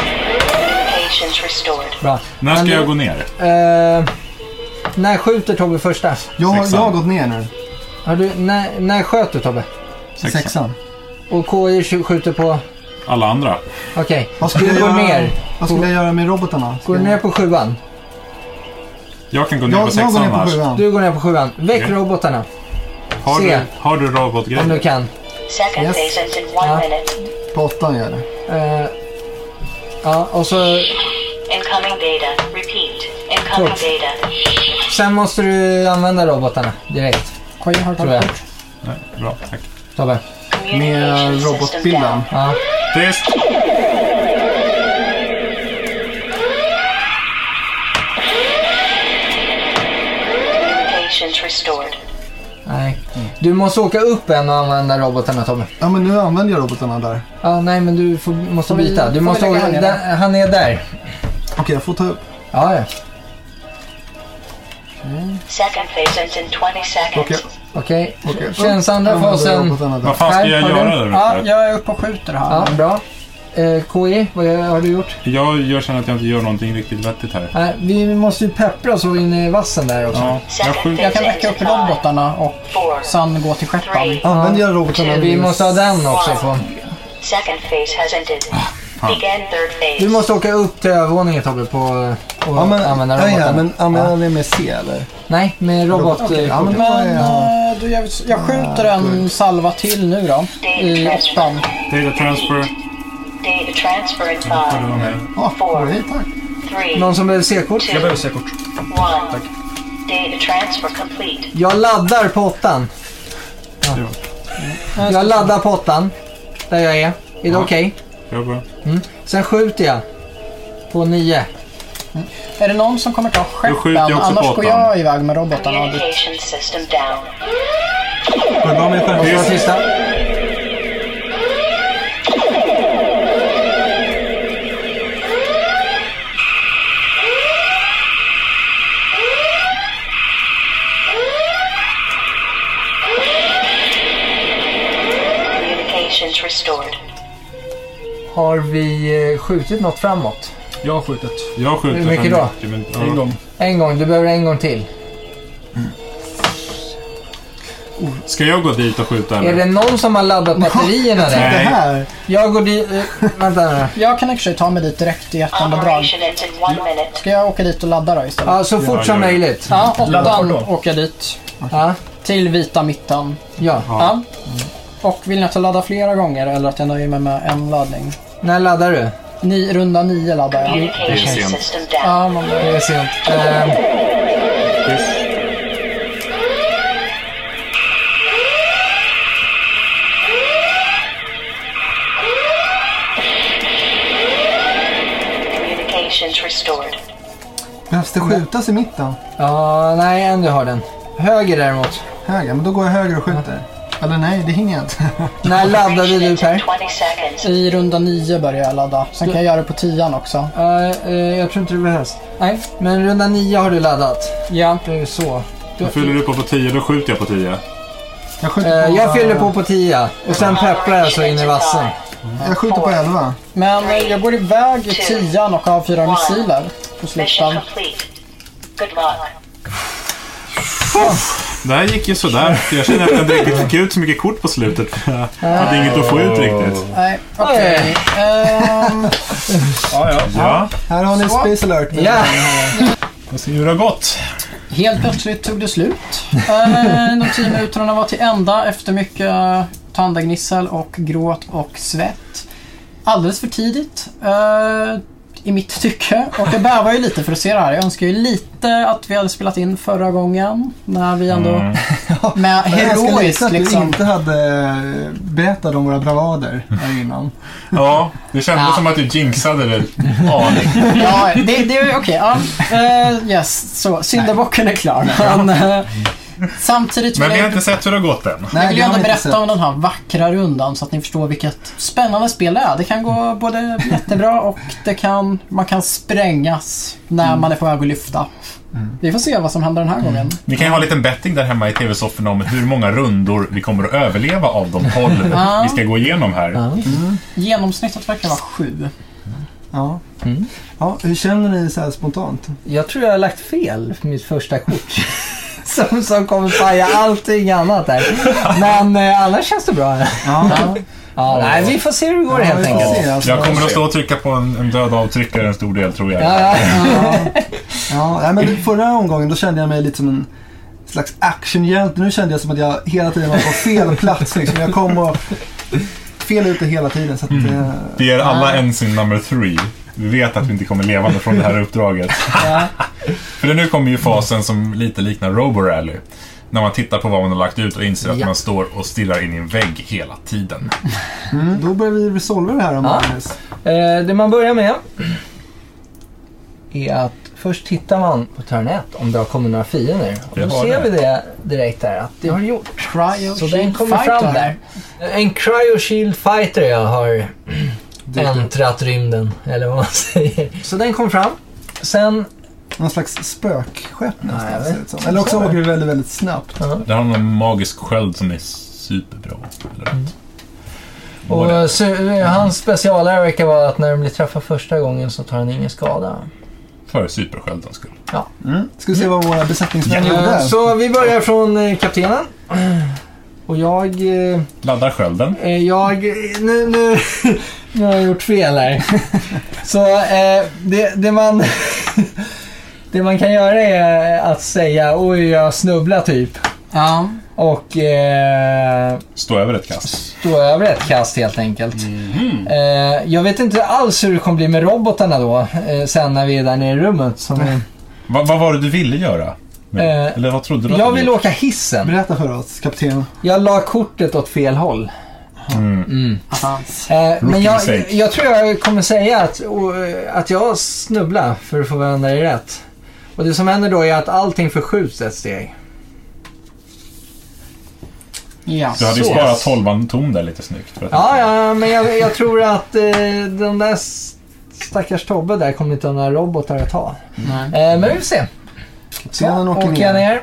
S9: Communications restored.
S4: Bra.
S7: När ska
S4: Men-
S7: jag gå ner?
S4: Eh, när skjuter Tobbe första?
S6: Jag, har- jag
S7: Sexan.
S6: har gått ner nu.
S4: Har du, när, när sköt du Tobbe?
S7: Sexan.
S6: Sexan.
S4: Och KI sk- skjuter på...
S7: Alla andra.
S4: Okej.
S6: Vad skulle,
S4: Du
S6: jag
S4: går
S6: göra,
S4: ner.
S6: vad skulle jag göra med robotarna?
S4: Går du ner på sjuan?
S7: Jag kan gå ner
S6: jag,
S7: på
S6: jag
S7: sexan
S6: går ner på
S7: annars.
S6: sjuan.
S4: Du går ner på sjuan. Väck
S7: Okej.
S4: robotarna
S7: Har du,
S4: Se.
S7: har du robotgrejer?
S4: om du kan.
S9: Second
S6: Yes.
S9: phase ends in one
S4: Ja.
S9: minute.
S6: På åttan gör jag det.
S4: Eh, ja, och så
S9: Incoming data. Repeat. Incoming
S4: Kort.
S9: data.
S4: Sen måste du använda robotarna direkt,
S2: Koji har
S4: tror jag.
S2: tagit kort.
S7: Nej, bra, tack.
S4: Tobbe.
S6: Med
S9: Communication system
S6: robotbilden.
S9: down.
S4: Ja.
S7: Tyst!
S9: Communications restored.
S4: Nej. Du måste åka upp en och använda robotarna, Tobbe.
S6: Ja, men nu använder jag robotarna där.
S4: Ja, nej, men du får, måste
S2: Får vi-
S4: byta. Du
S2: får vi
S4: måste
S2: lägga
S4: åka,
S2: han ner
S4: där, han är där.
S6: Okej, jag får ta upp.
S4: Ja, ja.
S9: Second phase ends in 20 seconds.
S6: Okej.
S4: Okej.
S6: Okej.
S4: Känns andra
S6: Använder
S4: fasen-
S6: robotarna där.
S7: Vad fan ska
S4: Här,
S7: jag
S4: har
S7: göra
S4: du-
S7: där
S2: Ja,
S7: uppe?
S2: jag är uppe och skjuter här.
S4: Ja, bra. Eh, KI, vad gör- har du gjort?
S7: Jag, jag känner att jag inte gör någonting riktigt vettigt här.
S4: Nej, vi måste ju peppra så in i vassen där också.
S7: Ja, jag skjuter.
S2: Jag kan väcka upp robotarna och
S9: Four.
S2: sen gå till skeppan.
S9: Three.
S6: Använder jag robotarna?
S4: Vi måste ha den också. På.
S9: Second phase has ended.
S7: fan.
S9: Begin third phase.
S4: Du måste åka upp till övervåningen, Tobbe, på, och
S6: Ja, men,
S4: använda
S6: ja, ja,
S4: robotarna.
S6: men använder jag det med C eller?
S4: Nej, med robot...
S6: Okej, ja,
S4: eh,
S6: men då får
S2: Men
S6: jag...
S2: eh, du, jag, jag skjuter en salva till nu då. I åttan.
S7: Data transfer.
S9: Data transfer in
S7: Får du vara
S9: five,
S7: med?
S6: Ja,
S9: Four.
S6: okej, tack.
S9: three,
S6: Någon som behöver C-kort?
S3: Jag
S9: two,
S3: behöver C-kort.
S9: one. Data transfer complete.
S4: Jag laddar på åttan. Jag laddar på åttan. Där jag är. Är det
S7: Ja.
S4: okej?
S7: Jag bara...
S4: Sen skjuter jag. På nio.
S2: Är det någon som kommer ta skeppen?
S7: skjuter jag också
S2: Annars
S7: på
S2: går
S7: åttan.
S2: jag iväg med robotarna. och dit.
S9: Communication system down.
S6: Går det bra med
S4: Och så
S6: skärmen?
S4: den sista.
S9: Communications restored.
S4: Har vi eh, skjutit något framåt?
S3: Jag har skjutit.
S7: Jag skjuter
S4: Hur mycket
S7: för
S4: då?
S7: mycket, men-
S3: En gång.
S4: En gång. Du behöver en gång till.
S7: Ska jag gå dit och skjuta
S4: Är
S7: eller?
S4: det någon som har laddat batterierna där?
S7: Nej.
S2: Det här.
S4: Jag går dit... eh, Vänta nu.
S2: Jag kan i och för sig ta mig dit direkt i ett enda drag.
S9: Operation ends in one minute.
S2: Ska jag åka dit och ladda då istället?
S4: Ja, så fort
S7: Ja,
S4: som
S7: gör det.
S4: möjligt.
S2: Ja,
S3: Laddar
S2: åttan
S3: då?
S2: åker jag dit.
S4: Ja.
S2: Till vita mitten.
S4: ja.
S2: Ja. Och vill ni att jag laddar flera gånger eller att jag nöjer mig med en laddning?
S4: När laddar du?
S2: Ni, runda nio laddar jag.
S9: Communication
S7: sent.
S9: system down.
S2: Ja, man,
S4: Det är sent. Ehm,
S9: Communications restored.
S6: Behövs det skjutas i mitten?
S4: Ja, nej, än du har den. Höger däremot.
S6: Höger? Men då går jag höger och skjuter. Eller nej, det hinner jag inte.
S4: När laddade
S9: Operation
S4: du
S9: ends in
S4: Per?
S9: 20 seconds.
S2: I runda nio börjar jag ladda. Sen kan jag göra det på tian också.
S4: Ja, eh, jag tror inte det behövs.
S2: Nej.
S4: Men runda nio har du laddat.
S2: Ja.
S4: Det är ju så.
S7: Då fyller du på på 10, då skjuter jag på 10.
S6: Jag skjuter,
S4: Eh,
S6: på,
S4: jag fyller på på tia och sen pepprar jag så in i vassen.
S6: jag skjuter på 11.
S2: Men eh, jag går iväg i tian och avfyrar missiler på
S9: Mission
S2: slutet.
S9: complete. Good luck.
S7: Det här gick ju sådär. Jag känner att jag inte riktigt fick ut så mycket kort på slutet. Jag hade inget att få ut riktigt.
S2: Nej, okej. Ehm,
S3: Ja, ja.
S7: Ja.
S6: Här har ni
S2: Så.
S6: Space Alert.
S4: Ja!
S7: Vi får se hur det har gått.
S2: Helt plötsligt tog det slut. Eh, De tio minuterna var till ända efter mycket tandagnissel och gråt och svett. Alldeles för tidigt. eh, I mitt tycke. Och jag bävar ju lite för att se det här. Jag önskar ju lite att vi hade spelat in förra gången. När vi ändå...
S7: Mm.
S2: Med
S6: Jag älskar lite
S2: heroiskt
S6: att du
S2: liksom.
S6: inte hade eh, berättat om våra bravader här innan.
S7: Ja, det kändes
S2: Ja.
S7: som att du jinxade det. Ja,
S2: Ja, det, det är okej. Ja, eh, yes, så. Syndabocken är klar. Men, eh, samtidigt vill
S7: Men vi
S2: jag
S7: har inte sett hur det har gått än.
S6: Nej,
S2: jag vill ju
S6: det har
S2: ändå
S6: vi inte
S2: berätta
S6: sett.
S2: om den här vackra rundan så att ni förstår vilket spännande spel det är. Det kan gå både jättebra och det kan, man kan sprängas när man är på väg att lyfta. Vi får se vad som händer den här gången.
S7: Ni kan ju ha en liten betting där hemma i tv-sofforna om hur många rundor vi kommer att överleva av de tolv vi ska gå igenom här.
S2: Genomsnittet verkar vara sju.
S6: Ja. ja. Hur känner ni så här spontant?
S4: Jag tror jag har lagt fel för mitt första kort. Som, som kommer paja allting annat här. Men eh, annars känns det bra.
S6: Ja.
S4: Ja, nej, vi får se hur det går
S6: Ja, vi
S4: helt
S6: får
S4: enkelt.
S6: se, alltså.
S7: Jag kommer att stå och trycka på en, en död avtryckare en stor del, tror jag.
S4: Ja, ja.
S6: Ja, nej, men förra omgången då kände jag mig lite som en slags actionhjälte. Nu kände jag som att jag hela tiden var på fel plats. Liksom. Jag kom och fel ute hela tiden. Så att,
S4: Mm.
S6: eh,
S7: Vi ger alla en sin number three. Vi vet att vi inte kommer levande från det här uppdraget. För nu kommer ju fasen som lite liknar Roborally. När man tittar på vad man har lagt ut och inser att man står och stirrar in i en vägg hela tiden.
S6: Då börjar vi resolva det här om
S4: Ja.
S6: Magnus.
S4: Eh, det man börjar med är att först tittar man på turn 1 om det har kommit några fiender. Och
S7: Det
S4: då
S7: har
S4: ser
S7: det.
S4: vi det direkt där att det har det gjort.
S2: Cryo
S4: Så den
S2: Shield
S4: kommer
S2: Fighter.
S4: fram där. En Cryo Shield Fighter jag har äntrat rymden, eller vad man säger. Så den kom fram. Sen...
S6: Någon slags spökskepp nästan.
S4: jag
S6: ser
S4: vet
S6: det som. Eller också åker vi väldigt, väldigt snabbt.
S7: Där har man en magisk sköld som är superbra. Eller? Vad
S4: Och
S7: var det?
S4: så, eh, hans specialare verkar vara att när den blir träffad första gången så tar den ingen skada.
S7: För supersköldens skull.
S6: Ska vi se vad våra besättningsmän
S4: Eh,
S6: gjorde?
S4: Mm. Så vi börjar från eh, kaptenen. Och jag... eh,
S7: Laddar skölden.
S4: Eh, Jag... Nu, nu, nu har jag gjort fel här. Så eh, det, det man... Det man kan göra är att säga oj, jag snubblar typ.
S2: Ja.
S4: Och eh,
S7: Stå över ett kast.
S4: stå över ett kast helt enkelt. Eh, jag vet inte alls hur det kommer bli med robotarna då, eh, sen när vi är där nere i rummet. Som vi,
S7: Va, vad var det du ville göra? nu?
S4: Eh,
S7: Eller vad trodde du att
S4: jag
S7: du
S4: vill
S7: gjort?
S4: åka hissen.
S6: Berätta för oss, kapten.
S4: Jag la kortet åt fel håll.
S2: Attans.
S4: Eh, men jag,
S7: mistake.
S4: jag tror jag kommer säga att, och, eh, att jag snubblar för att få vända i rätt. Och det som händer då är att allting förskjuts ett steg.
S2: Ja.
S7: Du hade ju
S2: så.
S7: sparat tolvan tom där lite snyggt. För att
S4: Ja, ja men jag, jag tror att eh, den där s- stackars Tobbe där kommer inte ha några robotar att ta.
S2: Nej.
S4: Eh, men vi får se.
S6: Sedan
S4: Ja,
S6: åker
S4: åker jag ner.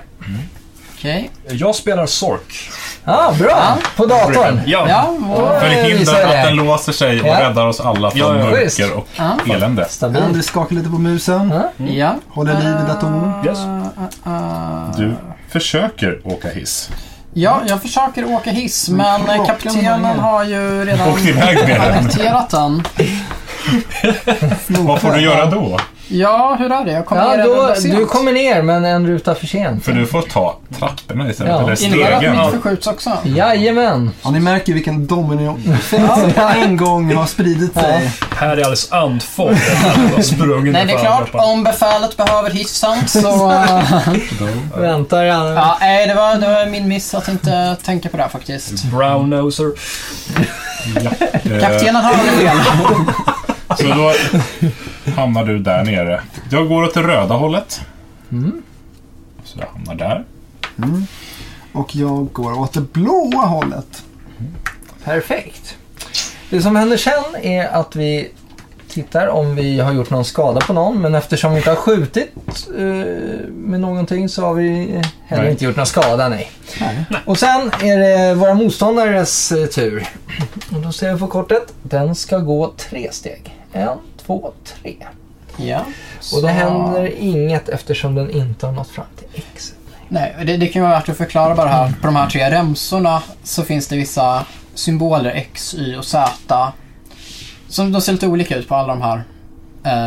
S2: Okej.
S3: Jag spelar Sork.
S4: Ja, bra. På datorn.
S3: Ja.
S2: Ja, och-
S7: Förhindra
S4: Visar det.
S7: att den låser sig och
S4: Ja.
S7: räddar oss alla från
S3: Ja, ja.
S4: Schysst.
S7: mörker och
S2: Ja.
S7: elände.
S4: Stabil.
S6: André skakar lite på musen.
S2: ja. Eh,
S6: Håller liv i datorn.
S3: Yes.
S7: Du försöker åka hiss.
S2: Ja, jag försöker åka hiss, men eh,
S6: kroppen
S2: kaptenen
S6: hänger.
S2: har ju redan
S7: Åkte iväg med den.
S2: annekterat den.
S7: Vad får du göra då?
S2: Ja, hur är det? Jag kommer
S4: Ja,
S2: ner
S4: då,
S2: ändå sent.
S4: du kommer ner men en ruta för sent.
S7: För du får ta trapporna istället,
S4: Ja.
S7: eller
S2: Innebär det
S7: stegen.
S2: att mitt förskjuts också?
S4: Jajamän.
S6: Ja, ni märker vilken dominoeffekt som på en gång har spridit sig.
S3: Här är alldeles andfådd efter att ha sprungit
S2: Nej, det är
S3: för
S2: klart.
S3: alla.
S2: Om befälet behöver hissen så... eh,
S4: Väntar han.
S2: ja, nej, det var, det var min miss att inte tänka på det här faktiskt.
S3: Brown-noser.
S7: Eh,
S2: Kaptenen har en del.
S7: Så då hamnar du där nere. Jag går åt det röda hållet.
S4: Mm.
S7: Så jag hamnar där.
S6: Och jag går åt det blåa hållet.
S4: Perfekt. Det som händer sen är att vi tittar om vi har gjort någon skada på någon. Men eftersom vi inte har skjutit eh, med någonting så har vi eh, heller
S7: Nej.
S4: inte gjort någon skada. Nej. Och sen är det våra motståndares eh, tur. Och då ser vi på kortet. Den ska gå tre steg. En, två, tre.
S2: Ja.
S4: Och
S2: Så-
S4: det händer inget eftersom den inte har nått fram till X.
S2: Nej, det, det kan ju vara värt att förklara bara här. På de här tre remsorna så finns det vissa symboler, X, Y och Z. Som de ser lite olika ut på alla de här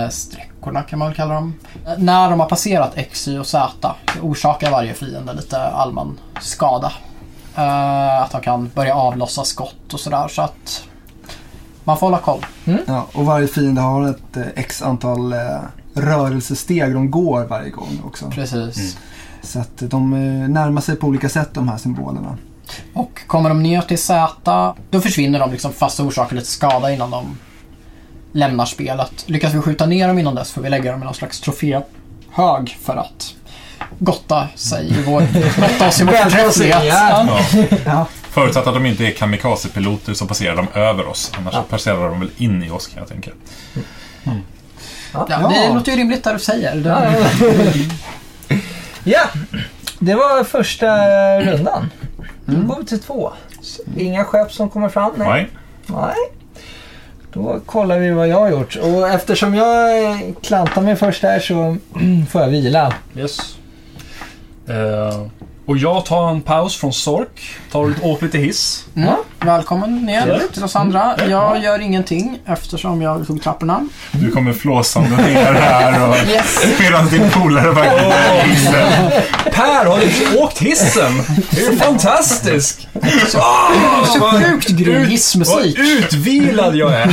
S2: eh, sträckorna kan man väl kalla dem. Eh, När de har passerat X, Y och Z så orsakar varje fiende lite allmän skada. Eh, att de kan börja avlossa skott och sådär så att man får hålla koll.
S6: Ja, och varje fiende har ett eh, x antal eh, rörelsesteg de går varje gång också.
S2: Precis.
S6: Så att de eh, närmar sig på olika sätt de här symbolerna.
S2: Och kommer de ner till Z, då försvinner de liksom fast orsakar lite skada innan de lämnar spelet. Lyckas vi skjuta ner dem innan dess får vi lägga dem i någon slags troféhög för att gotta sig i vår, gotta oss i vår
S4: Välkomna
S2: förträfflighet.
S4: ja.
S2: Ja.
S7: Förutsatt att de inte är kamikazepiloter så passerar de över oss. Annars passerar de väl in i oss kan jag tänka.
S2: Ja, det
S6: Ja.
S2: låter ju rimligt där du säger. Det,
S4: Ja, det var första rundan.
S2: Mm.
S4: Nu går vi till två. Så Inga skepp som kommer fram? Nej.
S7: Nej.
S4: Nej. Då kollar vi vad jag har gjort. Och eftersom jag eh, klantar mig först här så får jag vila.
S3: Yes. Eh, och jag tar en paus från Sork. Tar lite, åker lite hiss.
S2: Mm. Välkommen ner
S3: Trevligt.
S2: till oss andra. Jag gör ingenting eftersom jag tog trapporna.
S7: Du kommer flåsande ner här och
S2: Yes.
S7: medan din polare verkligen är vilsen.
S10: Per, har du åkt hissen? Det är ju fantastiskt!
S3: Ah!
S2: Så sjukt grym hissmusik.
S10: Utvilad jag är!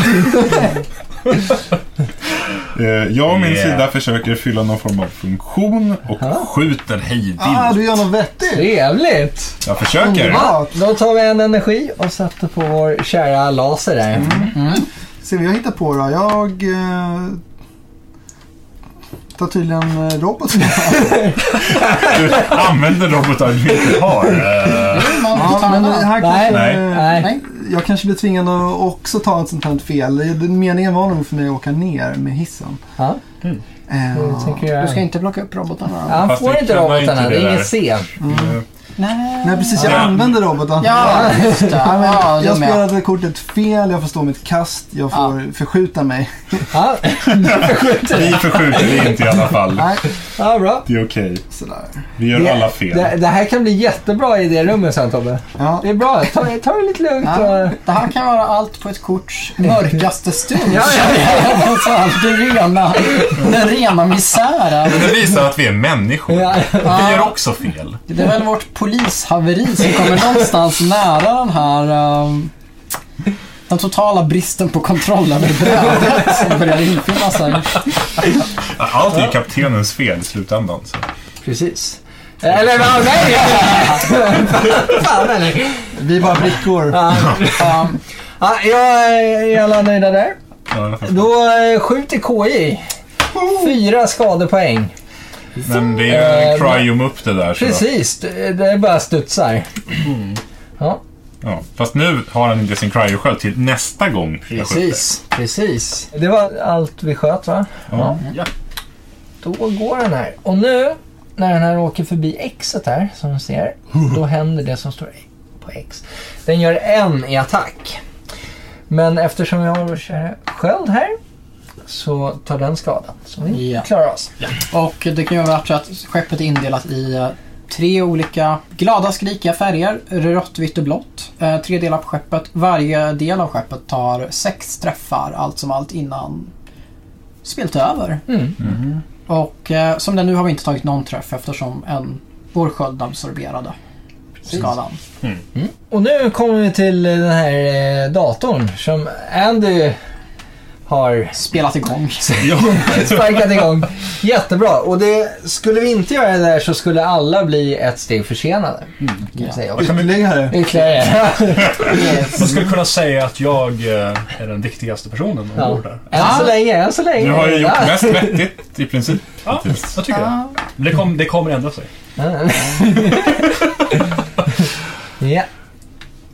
S7: Eh, Jag å min
S3: Yeah.
S7: sida försöker fylla någon form av funktion och skjuter hejvilt.
S6: Ah, du gör något vettigt!
S4: Trevligt!
S7: Jag försöker.
S4: Ja, då tar vi en energi och sätter på vår kära laser där.
S2: Mm.
S6: Se vad jag hittar på då. Jag eh, tar tydligen eh, roboten.
S7: Du använder robotar du inte har. Eh,
S2: Man får ta
S6: ja, men det
S2: en annan.
S6: här
S4: Nej,
S6: kanske,
S7: Nej.
S4: Nej.
S2: Nej.
S6: Jag kanske blir tvingad att också ta ett sånt här fel. Det- det- Meningen var nog för mig att åka ner med hissen.
S4: Ja.
S6: Eh,
S4: Hur tänker
S2: Du ska
S4: jag?
S2: inte plocka upp robotarna då?
S4: Ja, Han
S7: Fast
S4: får
S7: det
S4: inte
S7: kan man
S4: robotarna,
S7: inte
S4: det
S7: det
S4: är
S7: där.
S4: inget C.
S2: Nej.
S6: nej, precis. Jag
S7: Ja.
S6: använder roboten.
S2: Ja, just det.
S6: Ja, men
S2: Ja,
S6: jag
S2: de är-
S6: spelade kortet fel, jag får stå mitt kast, jag får förskjuta mig.
S4: Ja,
S7: Eh, Vi förskjuter det inte i alla fall.
S6: Nej,
S4: ja bra.
S7: Det är okej.
S6: sådär.
S7: Vi gör
S4: Det-
S7: alla fel.
S4: Det, det här kan bli jättebra i det rummet sen Tobbe.
S6: Ja.
S4: Det är bra, ta, ta det lite lugnt.
S2: Ja,
S4: Och...
S2: det här kan vara allt på ett korts mörkaste stund.
S4: Ja, ja,
S2: Alltså, det rena, den rena misären.
S7: Men det visar att vi är människor.
S4: Ja.
S7: Vi gör också fel.
S2: Det är väl vårt polishaveri som kommer någonstans nära den här ehm, den totala bristen på kontroll över brödet som börjar infinna sig.
S7: Allt är ju kaptenens fel i slutändan. Så.
S4: Precis. Eller ja, nej! Fan eller?
S6: Vi är bara brickor.
S4: Ja. Ja, jag är alla nöjda där.
S7: Ja, jag fattar.
S4: Då eh, skjuter KI. Fyra skadepoäng.
S7: Men det är en cryum upp det där. Så.
S4: Precis, det det är bara studsar. Ja,
S7: Ja. Fast nu har han inte sin cryo-sköld till nästa gång. jag skjuter.
S2: Precis, precis.
S4: det var allt vi sköt va?
S7: Ja.
S4: Då går den här. Och nu när den här åker förbi Xet här, som du ser, då händer det som står på X. Den gör en i attack. Men eftersom jag har kär- sköld här så tar den skadan. Så vi
S2: Ja.
S4: klarar oss.
S2: Och det kan ju vara värt att skeppet är indelat i eh, tre olika glada skrikiga färger, rött, vitt och blått. Eh, Tre delar på skeppet. Varje del av skeppet tar sex träffar allt som allt innan spelet är över.
S7: Mm-hmm.
S2: Och eh, som det är nu har vi inte tagit någon träff eftersom en, vår sköld absorberade skadan.
S4: Och nu kommer vi till den här eh, datorn som Andy har
S2: Spelat igång.
S4: sparkat igång. Jättebra. Och det, skulle vi inte göra det där så skulle alla bli ett steg försenade. Kan vi
S2: ja.
S4: säga. Och
S6: Ytterligare.
S4: Ytterligare.
S3: Man skulle kunna säga att jag eh, är den viktigaste personen ombord där.
S4: Än så länge, än så länge.
S7: Du har ju gjort
S4: Ja.
S7: mest vettigt i princip.
S3: Ja, jag tycker det. Det, kom, det kommer ändra sig.
S4: Ja.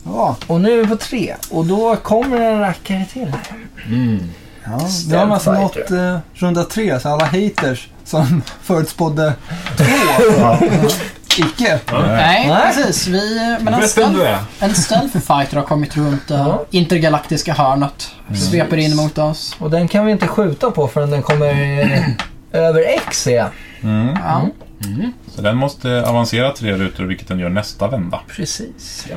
S6: Ja,
S4: Och nu är vi på tre. Och då kommer en rackare till här.
S6: ja. Nu har man alltså
S4: Stealth
S6: nått eh, runda tre, så alla haters som förutspådde två. Icke.
S2: Nej,
S4: Nej.
S2: precis. Vi, eh, men en
S7: vet vem
S2: stealth,
S7: du är.
S2: en stealth fighter har kommit runt det intergalaktiska hörnet.
S7: Mm.
S2: Sveper in mot oss.
S4: Och den kan vi inte skjuta på förrän den kommer eh, över X. Ja.
S2: Ja.
S7: Så den måste avancera tre rutor, vilket den gör nästa vända.
S4: Precis. Ja.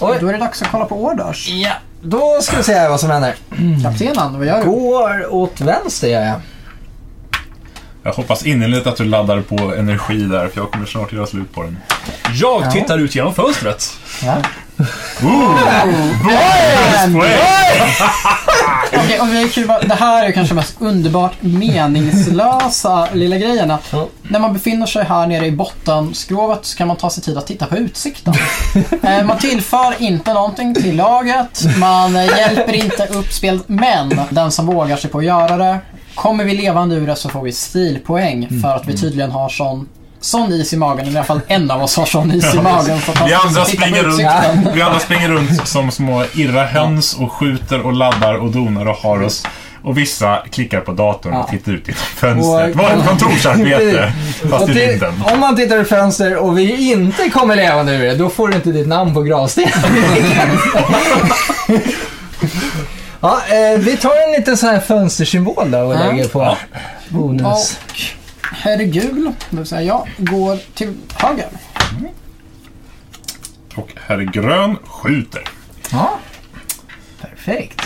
S2: Då
S4: Oj.
S2: är det dags att kolla på orders.
S4: Ja. Då ska vi se här vad som händer.
S2: Kaptenen, vad gör du?
S4: Går åt vänster gör jag.
S7: Jag hoppas innerligt att du laddar på energi där, för jag kommer snart göra slut på den.
S3: Jag tittar ut genom fönstret.
S2: Okej, och vi kan ju bara, det här är ju kanske mest underbart meningslösa lilla grejen. Att
S4: Ja.
S2: när man befinner sig här nere i bottenskrovet så kan man ta sig tid att titta på utsikten. Eh, man tillför inte någonting till laget, man eh, hjälper inte upp spelet, men den som vågar sig på att göra det, kommer vi levande ur det så får vi stilpoäng för att
S7: Mm.
S2: vi tydligen har sån Sån is i magen, eller i alla fall en av oss har sån is i magen. så att man
S7: Vi
S2: ska titta
S7: andra,
S2: på
S7: springer
S2: utsikten.
S7: runt, vi andra springer runt som små irra höns och skjuter och laddar och donar och har oss. Och vissa klickar på datorn och tittar ut genom fönstret.
S4: Och-
S7: Var ett kontorsarbete, fast
S4: Och
S7: i
S4: det-
S7: rymden.
S4: om man tittar ut fönster och vi inte kommer levande ur det, då får du inte ditt namn på gravstenen. ja, eh, vi tar en liten sån här fönstersymbol då och
S2: Ja.
S4: lägger på bonus.
S2: Och herregud, det vill säga jag, går till höger.
S7: Och herr Grön skjuter.
S4: Ja. Perfekt.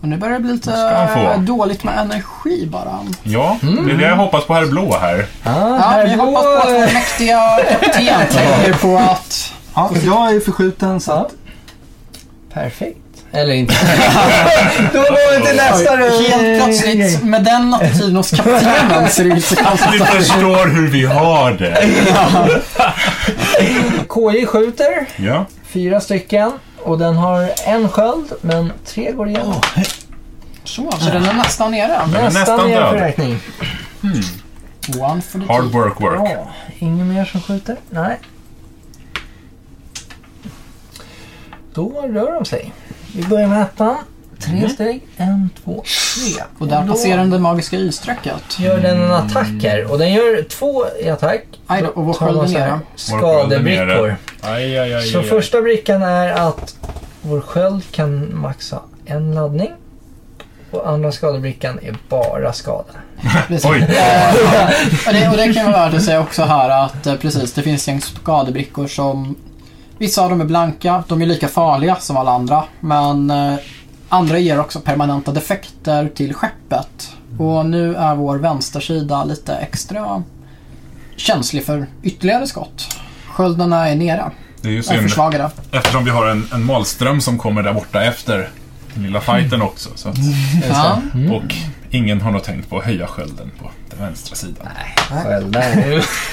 S2: Och nu börjar det bli
S7: ska
S2: lite
S7: han få.
S2: dåligt med energi bara.
S7: Ja, det är det jag hoppas på herr Blå här.
S4: Ja,
S2: Ja,
S4: här
S2: vi
S4: går-
S2: hoppas på att vår mäktiga kapten tänker på att...
S6: Ja, jag är ju förskjuten så att...
S4: Perfekt. Eller inte. då går vi till nästa
S2: Oj, Helt plötsligt, med den attityden hos kaptenen ser det ut som att
S7: Du förstår hur vi har det.
S4: KJ skjuter,
S7: Ja.
S4: fyra stycken. Och den har en sköld, men tre går igenom.
S2: så. Så den är nästan nere.
S7: Den är nästan
S4: ner för
S7: död.
S4: räkning.
S2: One for the
S7: Hard
S2: team.
S7: work work.
S4: Ja, ingen mer som skjuter? Nej. Då rör de sig. Vi börjar med ettan. Tre steg. En, två, tre.
S2: Mm. Och där
S4: då
S2: passerar den det magiska Y-strecket.
S4: gör den en attack här. Och den gör två i attack.
S2: Aj då, och vår
S4: Då tar
S2: sköld är
S4: man så här
S2: nere.
S4: Skadebrickor.
S3: Aj, aj, aj,
S4: Så
S3: aj, aj.
S4: första brickan är att vår sköld kan maxa en laddning. Och andra skadebrickan är bara skada.
S2: Precis. Eh,
S7: Oj.
S2: Och det, och det kan vara värt att säga också här att eh, precis, det finns en skadebrickor som Vissa av dem är blanka, de är lika farliga som alla andra. Men eh, andra ger också permanenta defekter till skeppet. Och nu är vår vänstersida lite extra känslig för ytterligare skott. Sköldarna är nere.
S7: Det är ju
S2: Är
S7: synd,
S2: försvagade.
S7: eftersom vi har en, en malström som kommer där borta efter den lilla fighten också. Så att,
S2: Ja.
S7: Och ingen har nog tänkt på att höja skölden på den vänstra sidan.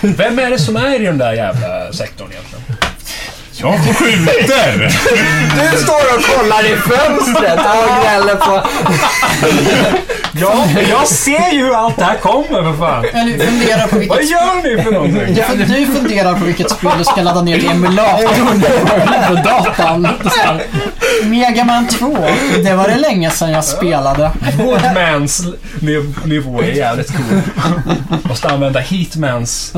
S3: Vem är det som är i den där jävla sektorn egentligen?
S7: Jag skjuter!
S11: Du står och kollar i fönstret och gnäller på...
S3: Ja, jag ser ju hur allt det här kommer för fan.
S2: Eller funderar på vilket...
S3: gör ni för någonting?
S2: Du fun- Du funderar på vilket spel du ska ladda ner i emulatorn på datan. Mega Man 2. Det var det länge sedan jag spelade.
S3: Woodmans niv- nivå är jävligt cool. Måste använda Heatmans.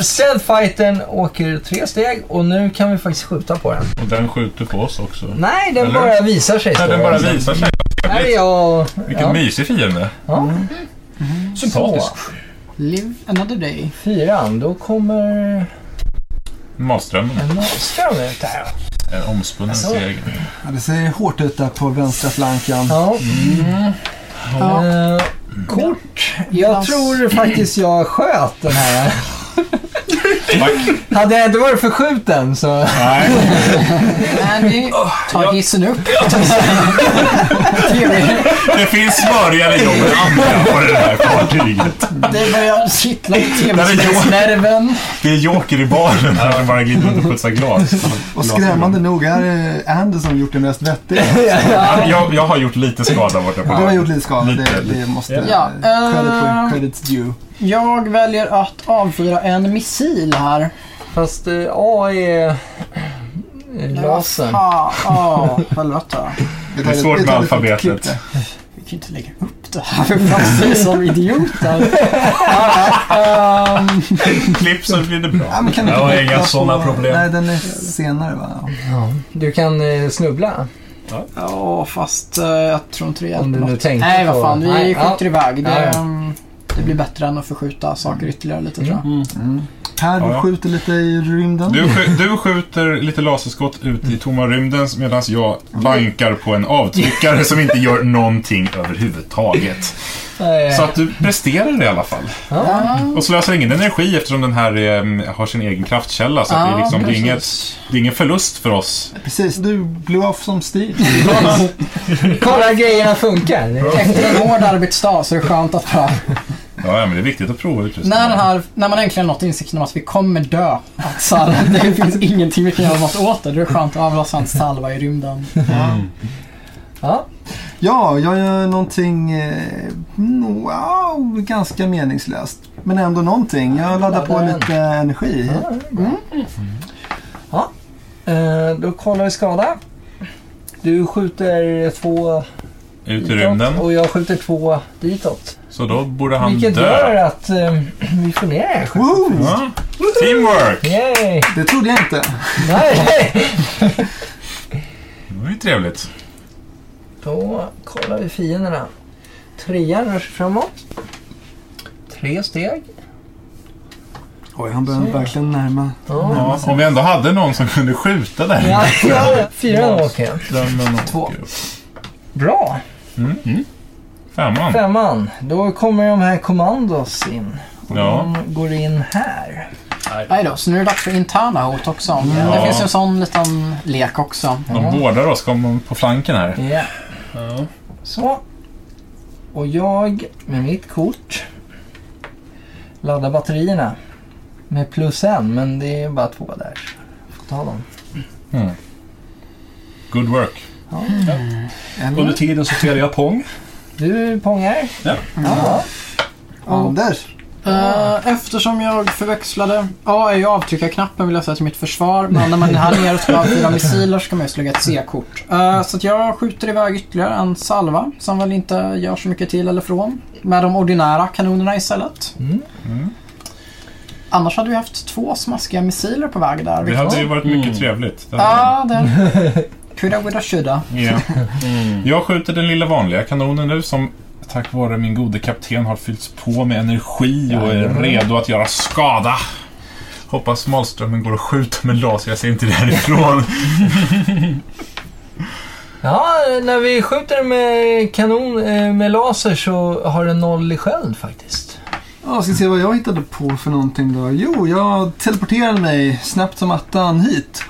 S4: Steadfighten åker tre steg och nu kan vi faktiskt skjuta på den.
S7: Och den skjuter på oss också.
S4: Nej, den
S7: Eller?
S4: bara visar sig.
S7: Nej,
S4: står
S7: den
S4: det.
S7: bara visar sig.
S4: Här är jag...
S7: Vilken mysig fiende.
S3: Sympatisk.
S2: Live another day.
S4: Fyran, då kommer...
S7: Malströmmen.
S4: En monster om ut här.
S7: En omspunnen
S4: Alltså.
S7: seger.
S6: Ja, det ser hårt ut där på vänstra flanken.
S4: Ja.
S7: Mm.
S2: Ja.
S4: Eh, kort. Jag tror faktiskt jag sköt den här.
S7: Tack.
S4: Hade jag inte varit förskjuten så...
S7: Nej.
S2: Andy tar hissen upp. Trevligt.
S7: Det finns smörigare jobb än andra på det här fartyget.
S2: Det börjar kittla i
S7: Där är Johan.
S2: tv-spelsnerven.
S7: Det är joker i baren här som bara glider runt och putsar glas.
S6: Och skrämmande nog är eh, Andy som gjort det mest vettiga.
S7: Jag, jag har gjort lite skada borta på
S6: Du har gjort lite skada,
S7: Lite,
S6: det, det
S7: lite.
S6: måste...
S2: Ja, eh,
S6: Credit where credit's due.
S2: Jag väljer att avfyra en missil här.
S4: Fast eh, A är... Lasern.
S2: Ja, ja, helvete.
S6: Det
S7: är svårt med
S6: tar lite
S7: alfabetet.
S6: klipp där.
S2: Vi kan ju inte lägga upp det här för faktiskt som idioter. Ja, ehm,
S7: Klipp så blir det bra.
S6: Ja, men kan vi
S3: Jag
S6: inte
S3: har inga
S6: titta på-
S3: såna problem.
S6: Nej, den är senare va?
S4: Du kan eh, snubbla.
S2: Ja, fast eh, jag tror inte det hjälper
S4: Om du nu
S2: något.
S4: tänkte
S2: Nej, vad
S4: på-
S2: fan. Vi
S4: Nej,
S2: skjuter
S4: ja.
S2: iväg. Det,
S4: Ja, ja. Mm.
S2: ehm, det blir bättre än att förskjuta saker ytterligare lite tror jag.
S6: Här,
S7: Ja,
S6: du
S7: ja.
S6: skjuter lite i rymden.
S7: Du, sk- du skjuter lite laserskott ut i tomma rymden medan jag bankar på en avtryckare som inte gör någonting överhuvudtaget.
S4: Eh,
S7: Så att du presterar det i alla fall. Och slösar ingen energi eftersom den här eh, har sin egen kraftkälla. Så att det, är liksom, det, är inget, det är ingen förlust för oss.
S6: Precis, du blev off som Steve.
S4: Kolla grejerna funkar.
S2: Efter en hård arbetsdag så är det skönt att bara,
S7: Ja, ja, men det är viktigt att prova utrustningen.
S2: när, den här, när man äntligen nått insikten om att vi kommer dö. Att så här, det finns ingenting vi kan göra något åt det. Då är det skönt att avlossa en salva i rymden.
S4: Ja.
S6: Ja, jag gör någonting eh, wow, ganska meningslöst. Men ändå någonting. Jag laddar på
S4: Laddar den.
S6: lite energi.
S4: Eh, då kollar vi skada. Du skjuter två
S7: Ut i
S4: ditåt
S7: rymden.
S4: och jag skjuter två ditåt.
S7: Så då borde han
S4: Vilket gör
S7: dö.
S4: att eh, vi får ner den här skiten.
S6: Woo!
S7: Ja. Teamwork!
S4: Yay!
S6: Det trodde jag inte.
S4: Nej!
S7: Det var ju trevligt.
S4: Då kollar vi fienderna. Trean rör sig framåt. Tre steg.
S6: Oj, han börjar verkligen närma.
S4: Ja.
S7: Ja, om vi ändå hade någon som kunde skjuta där.
S4: Ja, Fyran åker.
S7: Drömmen åker
S4: Två.
S7: upp.
S4: Bra!
S7: Mm. Femman.
S4: Femman. Då kommer de här kommandos in. Och
S7: Ja.
S4: De går in här.
S2: Nej då, så nu är det dags för interna hot också. Det
S7: Ja.
S2: finns ju en sån liten lek också.
S7: De vårdar oss, kommer på flanken här.
S4: Ja. Så. Och jag med mitt kort laddar batterierna med plus en, men det är bara två där. Får ta dem.
S7: Good work.
S3: Under tiden så spelar jag Pong.
S4: Du pongar.
S7: Ja.
S4: Ja.
S6: Anders!
S2: Eh, eftersom jag förväxlade A är ju avtryckarknappen vill jag säga till mitt försvar. Men när man är här nere och ska avfyra missiler så kan man just lägga ett C-kort. Eh, så att jag skjuter iväg ytterligare en salva som väl inte gör så mycket till eller från. Med de ordinära kanonerna istället.
S4: Mm.
S2: Annars hade vi haft två smaskiga missiler på väg där.
S7: Det
S2: vilket-
S7: hade ju varit mycket trevligt. Det hade-
S2: Ja, det... Kudda, kudda, kudda.
S7: Ja. Jag skjuter den lilla vanliga kanonen nu som tack vare min gode kapten har fyllts på med energi och är redo att göra skada. Hoppas Malströmmen går att skjuta med laser, jag ser inte därifrån.
S4: Ja, när vi skjuter med kanon eh, med laser så har den noll i sköld faktiskt.
S6: Ja, ska se vad jag hittade på för någonting då. Jo, jag teleporterade mig snabbt som attan hit.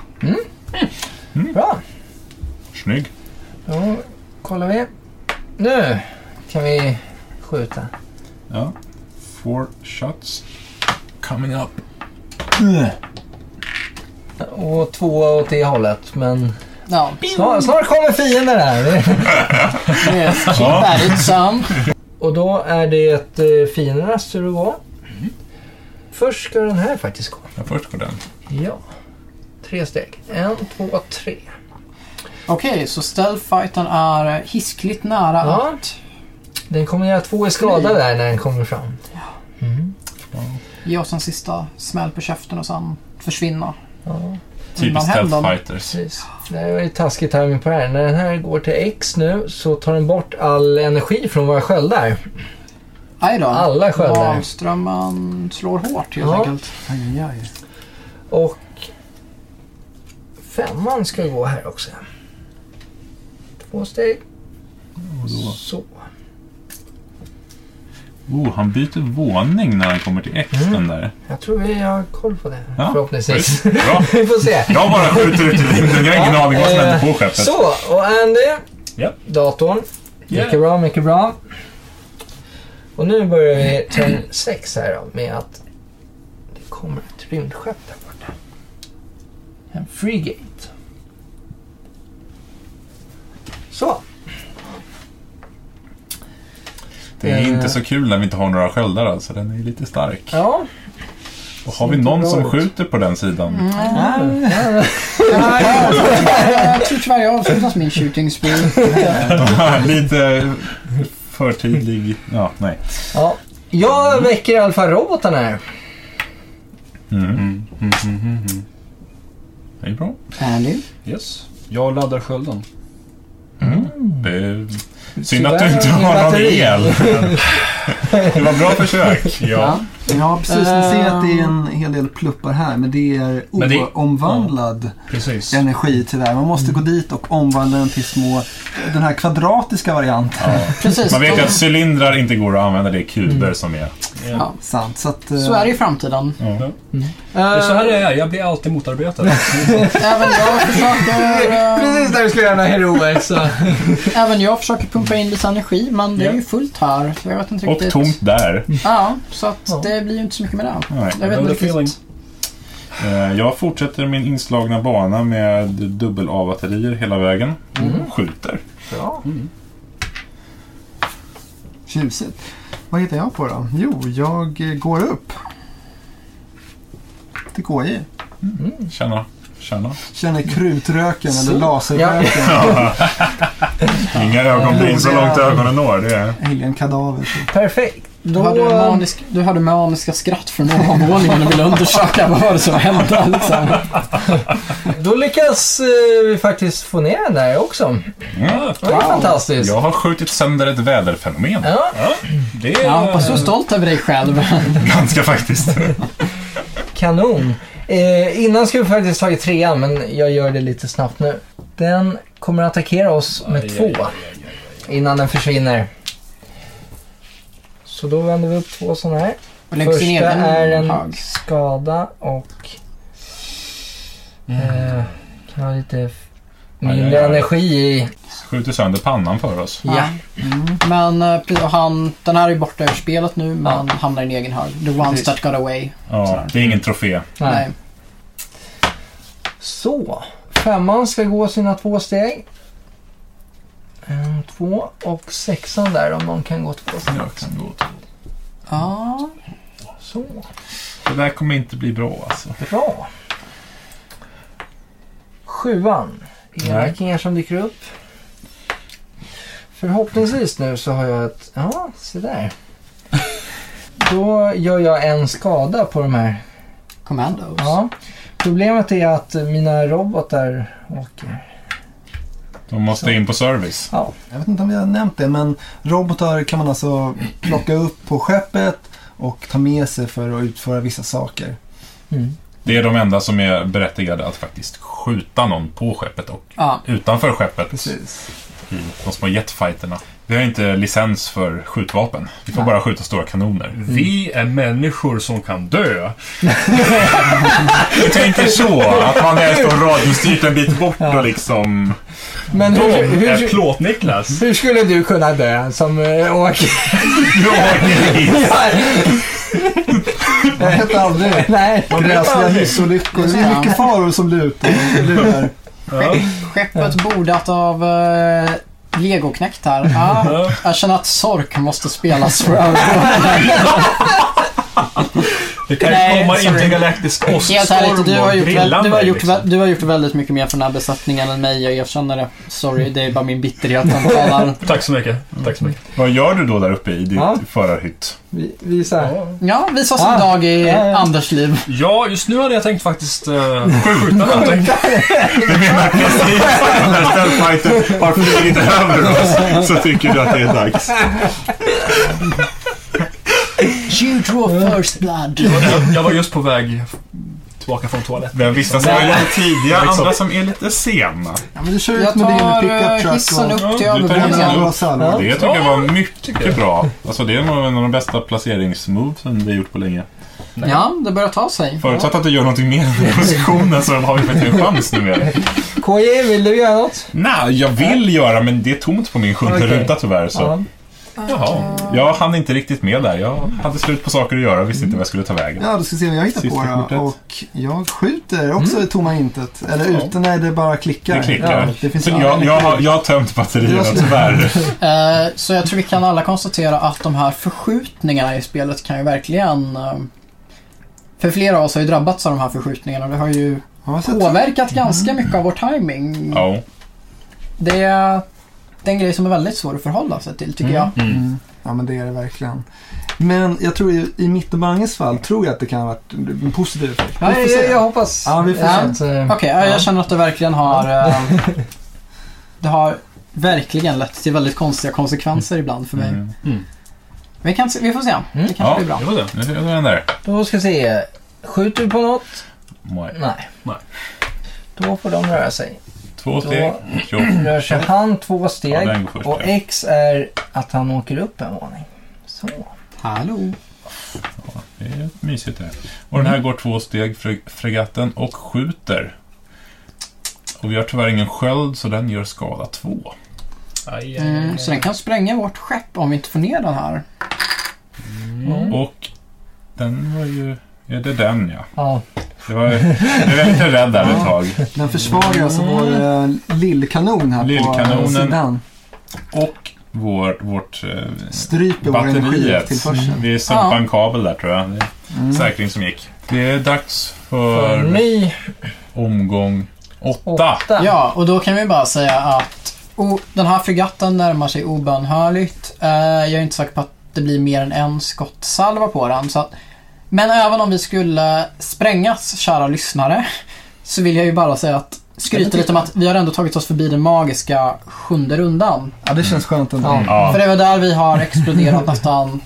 S4: Bra.
S7: Snygg.
S4: Då kollar vi. Nu kan vi skjuta.
S7: Ja. Four shots. Coming up.
S4: Och två åt det hållet, men
S2: Ja,
S4: snart, snart kommer fienden här.
S2: yes. Keep at it son.
S4: Och då är det eh, fiendernas tur att gå. Först ska den här faktiskt gå.
S7: Mm. Ja, först går den.
S4: Ja. Tre steg. En, två, tre.
S2: Okej, så stealthfighten är hiskligt nära
S4: Ja.
S2: att...
S4: Den kommer göra två i skada där när den kommer fram.
S2: Ge oss en sista smäll på käften och sen försvinna.
S7: Typiskt
S2: händer
S7: stealth
S2: något.
S7: fighters.
S4: Precis. Det här var ju taskig timing på det här. När den här går till X nu så tar den bort all energi från våra sköldar.
S2: Aj då.
S4: Alla sköldar.
S2: Magströmmen slår hårt helt
S4: Ja.
S2: enkelt.
S6: Aj, aj, aj.
S4: Och femman ska gå här också. Två steg. Så.
S7: Oh, han byter våning när han kommer till X
S4: Mm.
S7: den där.
S4: Jag tror vi har koll på det.
S7: Ja.
S4: Förhoppningsvis.
S7: Bra.
S4: vi får se.
S7: Jag bara skjuter ut i rymden. Jag har ingen aning vad som händer på skeppet.
S4: Så, och Andy.
S3: Ja.
S4: Datorn.
S3: Ja.
S4: Mycket bra, mycket bra. Och nu börjar vi turn 6 här då, med att det kommer ett rymdskepp där borta. En Freegate. Så.
S7: Det är inte så kul när vi inte har några sköldar alltså. Den är lite stark.
S4: Ja.
S7: Och har vi någon
S4: bra
S7: som
S4: ut.
S7: skjuter på den sidan?
S4: Mm,
S2: Jag tror tyvärr jag avslutas min shooting spree.
S7: lite förtidlig. Ja, nej.
S4: ja. Jag väcker i alla fall roboten här.
S7: Mm. Det är bra.
S2: Andy.
S3: Yes. Jag laddar skölden.
S7: Det är... Synd att du
S4: Tyvärr
S7: inte
S4: ingen
S7: har någon
S4: batteri.
S7: el. Det var bra försök. Ja.
S6: Ja, precis. Ni ser att det är
S2: Ehm.
S6: en hel del pluppar här, men det är
S3: Men det- Mm.
S6: oomvandlad
S3: Precis.
S6: energi tyvärr. Man måste gå dit och omvandla den till små, den här kvadratiska varianten.
S2: Precis.
S7: Man vet ju
S2: då-
S7: att cylindrar inte går att använda. Det är
S4: Mm.
S7: kuber som är...
S6: Sant. Så, att, eh,
S2: Så är det i framtiden.
S3: Det är så här jag är. Jag blir alltid motarbetad.
S2: Även jag försöker, eh,
S4: Precis när du skulle göra några heroer så...
S2: även jag försöker pumpa in lite energi men det är ju fullt här. Så jag vet inte
S7: Och
S2: riktigt.
S7: tomt där.
S2: Ja, så att det blir ju inte så mycket med det.
S7: Nej.
S2: Jag vet
S3: Another
S2: inte
S3: feeling.
S2: riktigt.
S7: Eh, Jag fortsätter min inslagna bana med dubbel A-batterier hela vägen. Skjuter.
S4: Bra.
S6: Tjusigt. Vad hittar jag på då? Jo, jag eh, går upp. Till KJ.
S7: Tjena. Tjena.
S6: Känner krutröken eller laserröken.
S7: Inga ögonbryn så långt ögonen når. Det är...
S6: Alien kadaver. så.
S4: Perfekt.
S2: Du
S4: Då...
S2: hade, manisk, du hade maniska skratt från ovanvåningen och ville undersöka vad var det som hände. Liksom.
S4: Då lyckas eh, vi faktiskt få ner den där också.
S7: Mm.
S4: Det var ju fantastiskt.
S7: Jag har skjutit sönder ett väderfenomen.
S4: Ja.
S3: Det är...
S2: Ja, hoppas du är stolt över dig själv.
S7: Ganska faktiskt.
S4: Kanon. Eh, innan skulle vi faktiskt tagit trean, men jag gör det lite snabbt nu. Den kommer att attackera oss med två innan den försvinner. Så då vänder vi upp två sådana här.
S2: Och läggs ner
S4: Första
S2: den
S4: är en
S2: hög.
S4: skada och... Eh, kan ha lite f-
S7: Aj,
S4: mindre
S7: aj, aj.
S4: energi i.
S7: Skjuter sönder pannan för oss.
S4: Ja.
S2: Men eh, precis, och han, den här är ju borta ur spelet nu, men hamnar i en egen hög. The ones that got away.
S7: Ja, det är ingen trofé.
S2: Nej.
S4: Så, femman ska gå sina två steg. En, två och sexan där om någon kan gå två steg.
S7: Jag kan gå till-
S2: Ja.
S4: Så,
S7: Det där kommer inte bli bra alltså.
S4: bra. Sjuan. Elräkningar som dyker upp. Förhoppningsvis nu så har jag ett... Ja, se där. Då gör jag en skada på de här.
S2: Commandos.
S4: Ja. Problemet är att mina robotar åker.
S7: De måste in på service.
S6: Jag vet inte om vi har nämnt det, men robotar kan man alltså plocka upp på skeppet och ta med sig för att utföra vissa saker.
S7: Det är de enda som är berättigade att faktiskt skjuta någon på skeppet och
S2: Ja.
S7: utanför skeppet. Mm,
S6: Precis.
S7: De små jetfighterna. Vi har inte licens för skjutvapen. Vi får bara skjuta stora kanoner.
S3: Vi är människor som kan dö.
S7: Vi tänker så, att man är så radiostyrt en bit bort och liksom...
S11: Men
S3: De
S11: hur,
S3: är
S11: hur,
S3: Plåt-Niklas.
S11: hur skulle du kunna dö som eh, åker?
S6: Jag vet aldrig.
S11: Nej.
S2: alltså
S6: Gräsliga hissolyckor. Det är mycket faror som lutar. lurar.
S3: Ja.
S2: Skeppet bordat av uh, legoknäckt här. Ah, jag känner att Sork måste spelas för övergången.
S3: Det kan ju
S2: Nej,
S3: komma
S2: sorry.
S3: intergalaktisk
S2: Helt ärligt, du
S3: åskstorm
S2: har,
S3: och
S2: gjort,
S3: grilla
S2: väl- du, har
S3: mig.
S2: gjort,
S3: Liksom.
S2: väl- du har gjort väldigt mycket mer för den här besättningen än mig, jag erkänner det. Sorry, det är bara min bitterhet som talar.
S3: Tack så mycket. Tack så mycket.
S7: Vad gör du då där uppe i din
S11: Ja.
S7: förarhytt?
S11: Vi, vi så här.
S2: Ja, visa sin
S11: Ah,
S2: dag i
S11: ja, ja.
S2: Anders liv.
S3: Ja, just nu hade jag tänkt faktiskt uh, skjuta någonting.
S7: Du menar precis när Stealthfighter har flugit över oss så tycker du att det är dags.
S2: You draw first blood.
S3: Jag, jag var just på väg tillbaka från toaletten.
S7: Men vissa som är lite tidiga, andra som är lite sena.
S6: Ja, men du kör ut
S2: Jag
S6: med din
S2: tar
S6: pickup
S2: eh,
S6: truck.
S2: hissen
S6: och-
S2: upp till
S7: Ja, du tar
S6: Ja, det
S2: övervåningen.
S7: hissen
S6: var Salma.
S7: Det tycker jag var mycket bra. Alltså det är nog en av de bästa placeringsmovesen vi gjort på länge.
S2: Ja, det börjar ta sig.
S7: Förutsatt att du gör någonting mer än den positionen så har vi faktiskt en chans nu mer.
S11: KJ, vill du göra något?
S7: Nej, jag vill göra men det är tomt på min sjunde
S11: Okej.
S7: ruta tyvärr. Så.
S11: Ja.
S7: Jaha. Jag hann inte riktigt med där. Jag hade slut på saker att göra och visste inte vad jag skulle ta vägen.
S6: Ja, då ska vi se vad jag hittar
S7: Sista
S6: på
S7: kortet.
S6: då. Och jag skjuter också i tomma intet. Eller ute, nej det bara klickar.
S7: Det klickar.
S6: Ja, det finns
S7: Så jag, jag, har, jag har tömt
S6: Det
S7: batterierna
S6: var så-
S7: tyvärr.
S2: Eh, Så jag tror vi kan alla konstatera att de här förskjutningarna i spelet kan ju verkligen... eh, För flera av oss har ju drabbats av de här förskjutningarna. Det har ju
S6: Ja, så att-
S2: påverkat ganska mycket av vår timing.
S7: Ja.
S2: Det är, det är en grej som är väldigt svår att förhålla sig till tycker jag.
S6: Mm. Ja, men det är det verkligen. Men jag tror i, i mitt och Manges fall tror jag att det kan ha varit en positiv effekt.
S2: Ja,
S6: Vi får
S11: Jag,
S6: se.
S11: jag, jag hoppas.
S6: Ja, vi får se.
S11: Att, eh,
S2: Okej, ja, jag känner att det verkligen har... eh, Det har verkligen lett till väldigt konstiga konsekvenser ibland för mig.
S7: Mm.
S2: Vi, kan, se- vi får se. Det kanske
S7: Ja,
S2: blir bra.
S7: det var det. Nu är den där.
S11: Då ska vi se. Skjuter du på något?
S7: Nej.
S11: Nej.
S3: Nej.
S11: Då får de röra sig.
S7: Två
S11: Då-
S7: steg. Jo.
S11: Rör sig han två
S7: Mm. Ja,
S11: steg
S7: den går först,
S11: och
S7: ja.
S11: X är att han åker upp en våning. Så.
S2: Hallå.
S7: Det är mysigt det här. Och den här går två steg, fre- fregatten, och skjuter. Och vi har tyvärr ingen sköld, så den gör skada två.
S3: Aj, aj, aj.
S2: Mm, så den kan spränga vårt skepp om vi inte får ner den här.
S7: Och den var ju... Är det den, ja?
S11: Ja.
S7: Det var, jag var lite rädd där ett tag.
S6: Den försvagar alltså vår eh, lillkanon här på eh,
S7: Lillkanonen.
S6: sidan.
S7: Och vår, vårt eh,
S6: Stryper vår
S7: batteriet.
S6: energitillförsel.
S11: Mm.
S7: Vi sumpade en kabel där, tror jag. Det är Säkring som gick. Det är dags
S11: För
S7: för
S11: ny
S7: omgång åtta.
S11: åtta.
S2: Ja, och då kan vi bara säga att o- den här fregatten närmar sig obönhörligt. Eh, jag är inte säker på att det blir mer än en skottsalva på den. Så att, men även om vi skulle sprängas, kära lyssnare, så vill jag ju bara säga att skryta lite om att vi har ändå tagit oss förbi den magiska sjunde rundan.
S6: Ja, det känns skönt ändå.
S11: Ja.
S2: För
S7: Ja,
S2: det var där vi har exploderat nästan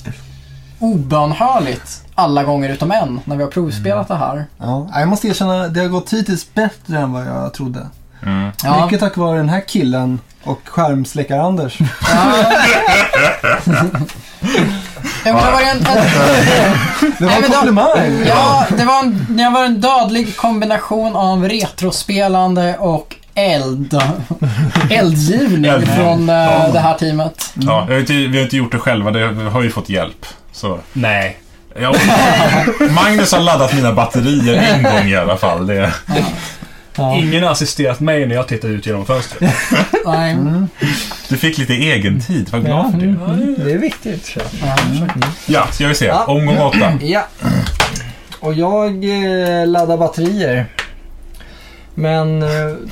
S2: obönhörligt alla gånger utom en när vi har provspelat det här.
S6: Ja, jag måste erkänna, det har gått hittills bättre än vad jag trodde.
S2: Ja.
S6: Mycket tack vare den här killen och skärmsläckar-Anders.
S2: Ja, men det var ju en, en,
S6: Det var
S2: Nej,
S6: en
S2: men då-
S6: komplimang!
S2: Ja, det var, en, det var en dödlig kombination av retrospelande och eld. Eldgivning
S7: Eldgivning.
S2: från eh,
S7: Ja.
S2: det här teamet.
S11: Mm.
S7: ja, vi har ju inte- vi har inte gjort det själva, det, vi har ju fått hjälp. Så.
S3: Nej.
S7: Ja, Magnus har laddat mina batterier en gång i alla fall. Det,
S3: Ingen har assisterat mig när jag tittade ut genom fönstret.
S2: Nej.
S7: du fick lite egen tid, vad glad för det.
S11: Det är viktigt.
S7: Ja, ska vi se.
S11: Mm. Ja.
S7: Omgång åtta.
S11: Ja. Och jag eh, laddar batterier. Men eh,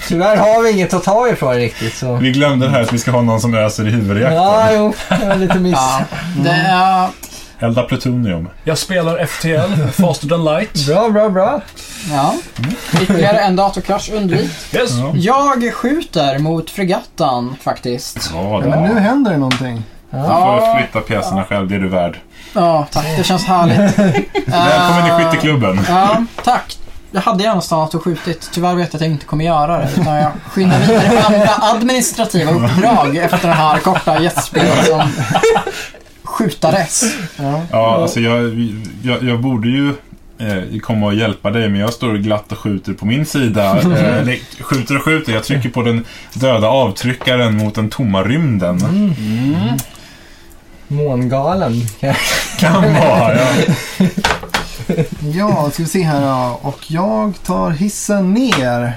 S11: tyvärr har vi inget att ta ifrån riktigt så.
S7: Vi glömde det här att vi ska ha någon som öser i huvudreaktorn.
S11: Ja, jo, det var lite miss.
S2: Ja, det är...
S7: Elda plutonium.
S3: Jag spelar FTL, Faster than light.
S11: Bra, bra, bra.
S2: Ja. Ytterligare en datorkrasch undvik.
S3: Yes.
S2: Jag skjuter mot fregattan faktiskt.
S7: Ja,
S6: Men nu händer det någonting.
S7: Du får flytta pjäserna själv, det är du värd.
S2: Ja, tack. Det känns härligt.
S7: Välkommen till skytteklubben.
S2: Ja, tack. jag hade gärna stannat och skjutit. Tyvärr vet jag att jag inte kommer göra det. Utan jag skyndar vidare med andra administrativa uppdrag efter den här korta gästspelet som skjutares.
S7: Ja, alltså jag, jag, jag borde ju eh, komma och hjälpa dig, men jag står glatt och skjuter på min sida. Eh, eller skjuter och skjuter, jag trycker på den döda avtryckaren mot den tomma rymden.
S4: Mångalen.
S7: Kan vara, ja.
S6: Ja, ska vi se här då. Och jag tar hissen ner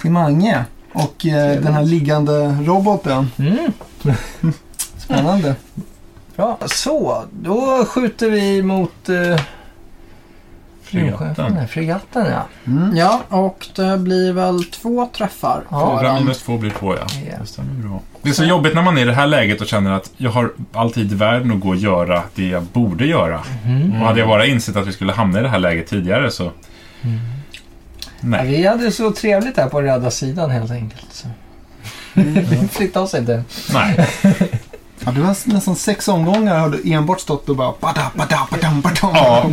S6: till Mange. Och eh, den här liggande roboten.
S4: Mm.
S6: Spännande.
S4: Bra. Så, då skjuter vi mot... Eh,
S7: Fregatten.
S4: Nej, Fregatten, ja.
S2: Ja, och det blir väl två träffar för
S7: Fyra
S2: den.
S7: minus två blir två, ja.
S4: Ja.
S7: Det stämmer bra. Det är så jobbigt när man är i det här läget och känner att jag har all tid i världen att gå och göra det jag borde göra.
S4: Mhm.
S7: Och hade jag bara insett att vi skulle hamna i det här läget tidigare så...
S4: Ja,
S7: Nej.
S4: Vi hade så trevligt här på röda sidan helt enkelt. Så.
S2: Mm.
S4: Vi flyttade oss inte.
S7: Nej.
S6: Ja, du har nästan sex omgångar har du enbart stått och bara... Bada, bada, badam, badam.
S7: Ja.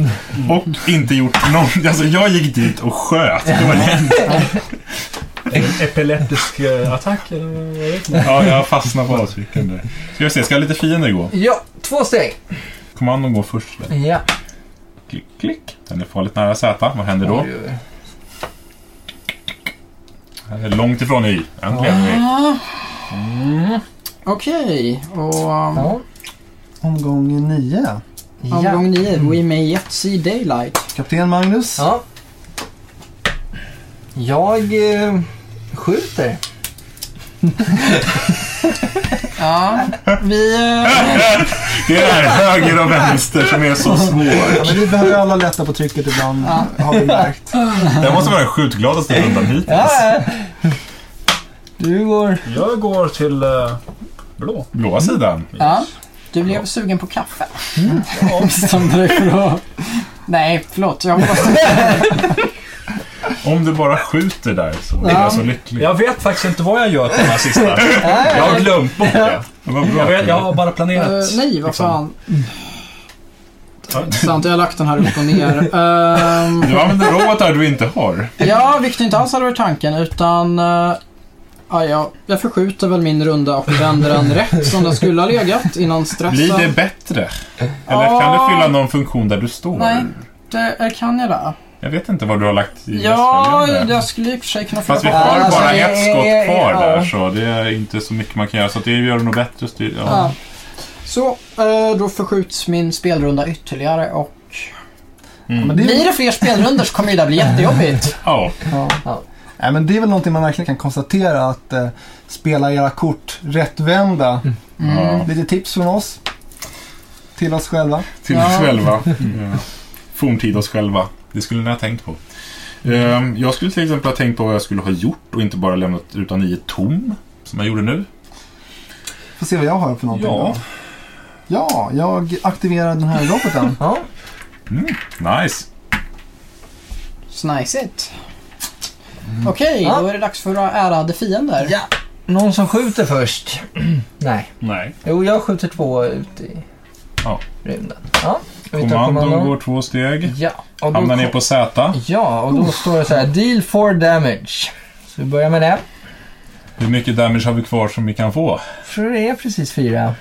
S7: Och inte gjort någonting. Alltså, jag gick dit och sköt. Det var det.
S3: Epileptisk eh, attack eller vad jag vet inte.
S7: Ja, jag fastnade på avtrycken där. Ska vi se, ska lite fiender gå?
S4: Ja, två steg.
S7: Kommandon går först. väl?
S4: Ja.
S7: Klick, klick. Den är farligt nära Z. Vad händer då? Här är Långt ifrån Y. Äntligen.
S2: Okej, och um,
S4: Ja.
S6: Omgång nio.
S4: Ja.
S2: omgång nio. We may yet see daylight.
S6: Kapten Magnus.
S4: ja. Jag eh, skjuter.
S2: Ja, vi... eh,
S7: Det är det här höger och vänster som är så svår.
S6: Ja, men vi behöver alla lätta på trycket ibland, har vi märkt.
S7: Det här måste vara den skjutgladaste rundan hittills.
S4: Ja. Du går...
S3: Jag går till eh, blå.
S7: Blåa sidan.
S2: Ja, du blev sugen på kaffe.
S7: Mm.
S2: Ja, bestämde dig för att... Nej, förlåt. Jag hoppas
S7: Om du bara skjuter där så blir jag så lycklig.
S3: Jag vet faktiskt inte vad jag gör på den här sista. Jag har glömt bort det.
S7: Vad bra.
S3: Jag, vet, jag har bara planerat.
S2: Eh, nej, vad
S3: liksom.
S2: fan. Sant, jag har lagt den här upp och ner. Ehm,
S7: Du använder robotar du inte har.
S2: ja, vilket inte alls hade varit tanken, utan... eh, ja, jag, jag förskjuter väl min runda och vänder den rätt som den skulle ha legat innan stressen.
S7: Blir det bättre? Eller kan
S2: Ja.
S7: du fylla någon funktion där du står?
S2: Nej. Det, eh, kan jag det?
S7: Jag vet inte vad du har lagt i
S2: Ja,
S7: nästföljande.
S2: jag skulle i och för sig kunna
S7: Fast vi
S2: fråga-
S7: har
S4: Alltså,
S7: bara
S4: det
S7: ett
S4: är-
S7: skott kvar
S4: ja.
S7: där så det är inte så mycket man kan göra. Så det gör det nog bättre att styra.
S2: Ja.
S7: Ja.
S2: Så, eh, då förskjuts min spelrunda ytterligare och...
S6: Men det, är,
S2: Blir det fler spelrundor så kommer ju det där bli jättejobbigt.
S7: Ja.
S6: nej, men det är väl någonting man verkligen kan konstatera att eh, spela era kort rättvända.
S2: Mm.
S6: Mm.
S7: Ja.
S6: Lite tips från oss. Till oss själva.
S7: Till
S2: Ja.
S7: oss själva. Ja. Forntid oss själva. Det skulle ni ha tänkt på. Ehm, Jag skulle till exempel ha tänkt på vad jag skulle ha gjort och inte bara lämnat ruta 9 tom. Som jag gjorde nu.
S6: Får se vad jag har för någonting.
S7: Ja.
S6: då. ja jag aktiverar den här roboten.
S4: Ja.
S7: Nice.
S2: Snajsigt. Okej,
S4: Ja.
S2: då är det dags för våra ärade fiender.
S4: ja. Någon som skjuter först. Nej.
S7: Nej.
S4: Jo, jag skjuter två ut i
S7: Ja.
S4: rymden. Ja. Vi tar
S7: Kommando
S4: kommando.
S7: går två steg.
S4: Ja. Och då
S7: Hamnar ner på Z.
S4: Ja, och då står det så här. Deal for damage. Så vi börjar med det.
S7: Hur mycket damage har vi kvar som vi kan få?
S4: Jag tror det är precis fyra.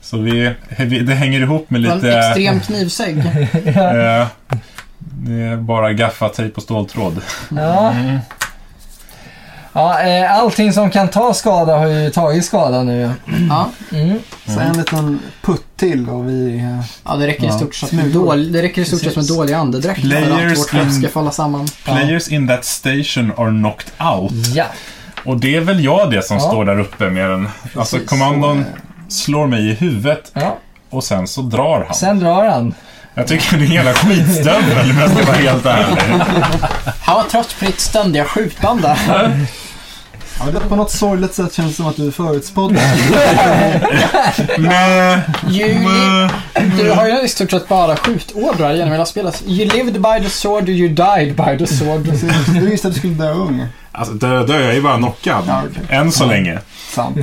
S7: Så vi, vi- det hänger ihop med
S2: En
S7: lite...
S2: extrem knivsägg.
S7: eh, det är bara gaffatejp och ståltråd.
S4: Ja. Ja, eh, allting som kan ta skada har ju tagit skada nu.
S2: Ja.
S4: Mm.
S6: Så en liten putt till och vi... eh,
S2: ja, det räcker i stort sett med,
S6: Smulor.
S2: dålig, det räcker i stort sett med
S6: Precis.
S2: dålig andedräkt för att
S7: Players
S2: vårt skepp ska
S7: in-
S2: falla samman.
S7: Players in that station are knocked out.
S4: Ja.
S7: Och det är väl jag det som
S4: Ja.
S7: står där uppe med den. Alltså
S6: Precis.
S7: kommandon
S6: Så, eh,
S7: slår mig i huvudet
S4: ja.
S7: och sen så drar han.
S4: Sen drar han.
S7: Jag tycker det är hela skitstövel om jag ska vara helt ärlig.
S2: Han var trött på ditt ständiga skjutande.
S6: Ja, det- på något sorgligt sätt känns det som att du är förutspådd.
S7: Men,
S2: You li- du har ju i stort sett bara skjutordrar genom hela spelet. You lived by the sword, you died by the sword.
S6: Så Du visste att du skulle dö ung.
S7: alltså dö, dö, jag är ju bara knockad.
S6: Ja, okej.
S7: Än så länge.
S6: Sant.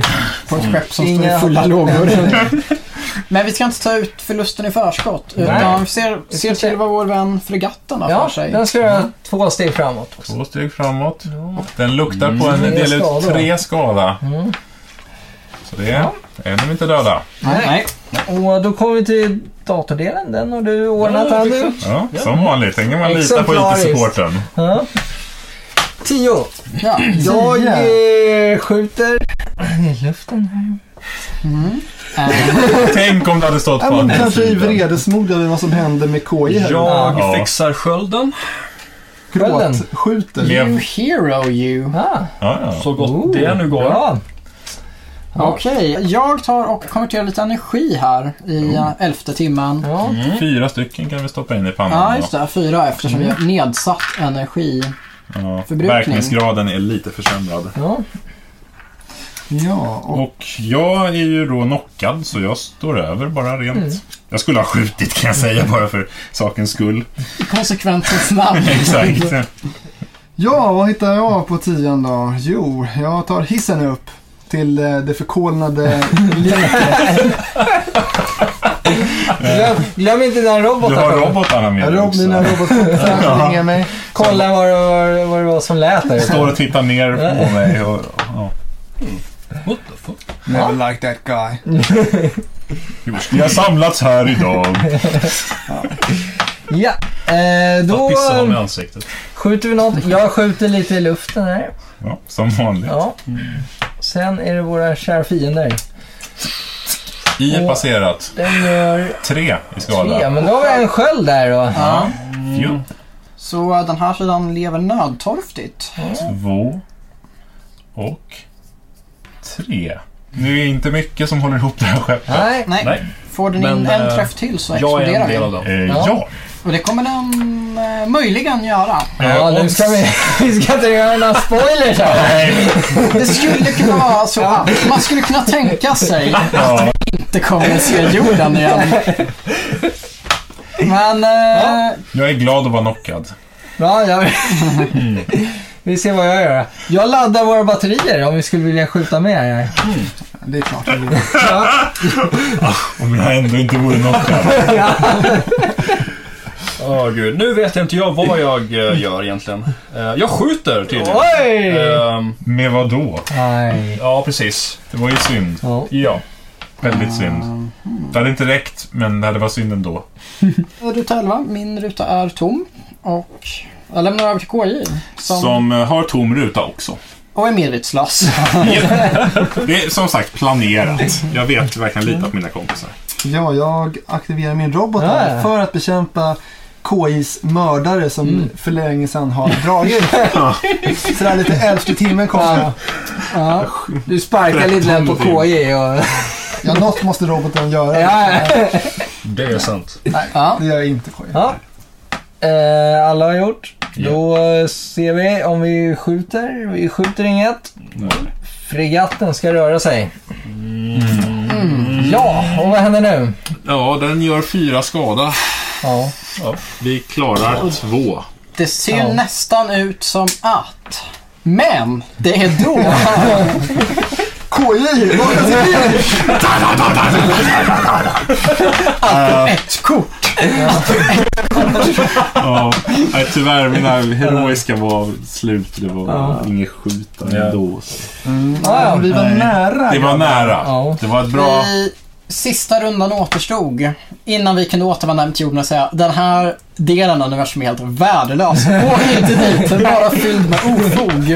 S2: På ett skepp som står
S6: Inga-
S2: i fulla lågor. Men vi ska inte ta ut förlusten i förskott.
S4: Nej.
S2: Utan vi ser,
S4: Vi ska
S2: ser till
S4: se.
S2: vad vår vän fregatten har
S4: Ja,
S2: för sig.
S4: den ska göra två steg framåt också.
S7: Två steg framåt. Den luktar på en
S4: Tre
S7: del ut
S4: skador.
S7: tre skada. Så det är en de inte döda.
S2: Nej. Nej.
S4: Och då kommer vi till datordelen. Den har du ordnat,
S3: Ja,
S4: Andu.
S7: Ja, som vanligt. Tänker man lita på
S4: Exemplariskt.
S7: IT-supporten.
S4: Ja. Tio.
S2: Ja.
S4: Jag eh, skjuter i luften här.
S7: Tänk om det hade stått på
S6: Ja, men
S7: andra
S6: kanske i
S7: sidan.
S6: vredesmod över vad som hände med KJ här.
S3: Jag
S7: Ja.
S3: fixar skölden.
S6: Gråt, skjuter.
S7: Ja.
S2: You hero you.
S4: Ah,
S7: Ja, ja.
S3: Så gott det nu går.
S4: bra.
S2: Okej, jag tar och konverterar lite energi här
S3: Mm.
S2: i eh, elfte timmen.
S4: Ja.
S7: Fyra stycken kan vi stoppa in i
S2: Ja,
S7: pannan.
S2: just
S7: då.
S2: det. Fyra eftersom
S3: Mm.
S2: vi har nedsatt energi.
S7: Ja.
S2: Förbrukning.
S7: Verkningsgraden är lite försämrad.
S4: Ja.
S6: Ja, och
S7: Och jag är ju då knockad så jag står över bara rent. Jag skulle ha skjutit kan jag säga bara för sakens skull.
S2: Konsekvensens namn.
S7: Exakt.
S6: ja, vad hittar jag på tian då? Jo, jag tar hissen upp till eh, det förkolnade leket.
S4: Glöm, glöm inte dina
S7: Du
S4: robotar.
S7: har
S4: Fabian.
S7: robotarna med dig
S6: Rob, mina
S7: också.
S6: robotkompisar ringer mig.
S4: Kolla vad det var, vad det var som lät där.
S7: Står och tittar ner på mig. Och, ja.
S3: What the fuck?
S6: Never like that guy.
S7: Vi har samlats här idag.
S4: Ja, eh,
S3: Att
S4: då
S3: pissa honom i ansiktet.
S4: skjuter vi något. Jag skjuter lite i luften här.
S7: Ja, som vanligt.
S4: Ja. Sen är det våra kära fiender.
S7: I är passerat.
S4: Den gör
S7: Tre i
S4: tre, Mm.
S7: skala.
S4: men då har vi en sköld där då.
S2: Ja.
S7: Ju.
S2: Så eh, den här sidan lever nödtorftigt.
S7: Två. Och tre. Nu är det inte mycket som håller ihop det här skeppet.
S4: Nej,
S2: Nej.
S3: Nej.
S2: Får den
S3: Men,
S2: in en
S3: eh,
S2: träff till så
S3: Jag är
S2: exploderar
S3: en del av
S2: vi.
S3: dem.
S7: Eh, ja.
S2: Och det kommer den eh, möjligen göra.
S4: ja,
S7: Eh,
S4: nu ska vi, vi ska inte göra några spoilers här.
S7: Nej.
S2: Det skulle kunna vara så att man skulle kunna tänka sig att
S7: Ja.
S2: vi inte kommer att se jorden igen. Men... Eh,
S7: Jag är glad att vara knockad.
S4: Ja, jag... Vi ser vad jag gör. Jag laddar våra batterier om vi skulle vilja skjuta med här.
S6: Det är klart. jag vill.
S7: Om jag ändå inte vore knockad.
S3: Åh gud. Nu vet jag inte jag vad jag eh, gör egentligen. Eh, jag skjuter tydligen.
S4: Oj!
S3: Ehm,
S7: Med vad då?
S4: Nej.
S3: ja, precis.
S7: Det var ju synd.
S4: Ja.
S3: Ja.
S7: Väldigt synd. Det hade inte räckt, men det hade varit synd ändå.
S2: Ruta 11, min ruta är tom. Och jag lämnar över till KJ. Som,
S7: eh, har tom ruta också.
S2: Och är medvetslös.
S7: Det är som sagt planerat. Jag vet verkligen lita på mina kompisar.
S6: Ja, jag aktiverar min robot
S4: Ja,
S6: här
S4: ja.
S6: för att bekämpa KIs mördare som
S4: Mm.
S6: för länge sedan har dragit. Så där lite elfte timmen kommer.
S4: Ja. Du sparkar lite grann på KJ och...
S6: Ja, något måste roboten göra.
S4: Ja.
S3: Det är sant.
S2: ja.
S6: Det gör inte KI.
S4: Ja. Eh, alla har gjort. Då eh, ser vi om vi skjuter. Vi skjuter inget. Fregatten ska röra sig. Ja, och vad händer nu?
S7: Ja, den gör fyra skada.
S4: Ja.
S7: Vi klarar två.
S2: Det ser
S4: Ja.
S2: nästan ut som att. Men det är då
S6: KI! vad kan jag säga?
S2: ett kort.
S7: Ja, nej, tyvärr. Mina heroiska var slut. Det var inget skjutande
S3: Ja.
S7: då.
S4: Ja, ja.
S6: Vi var nära.
S7: Det var
S4: Ja.
S7: nära. Det var ett bra...
S2: I sista rundan återstod, innan vi kunde återvända hem till jorden och säga den här delen av universum är helt värdelös. Åk inte dit, den är bara fylld med ofog.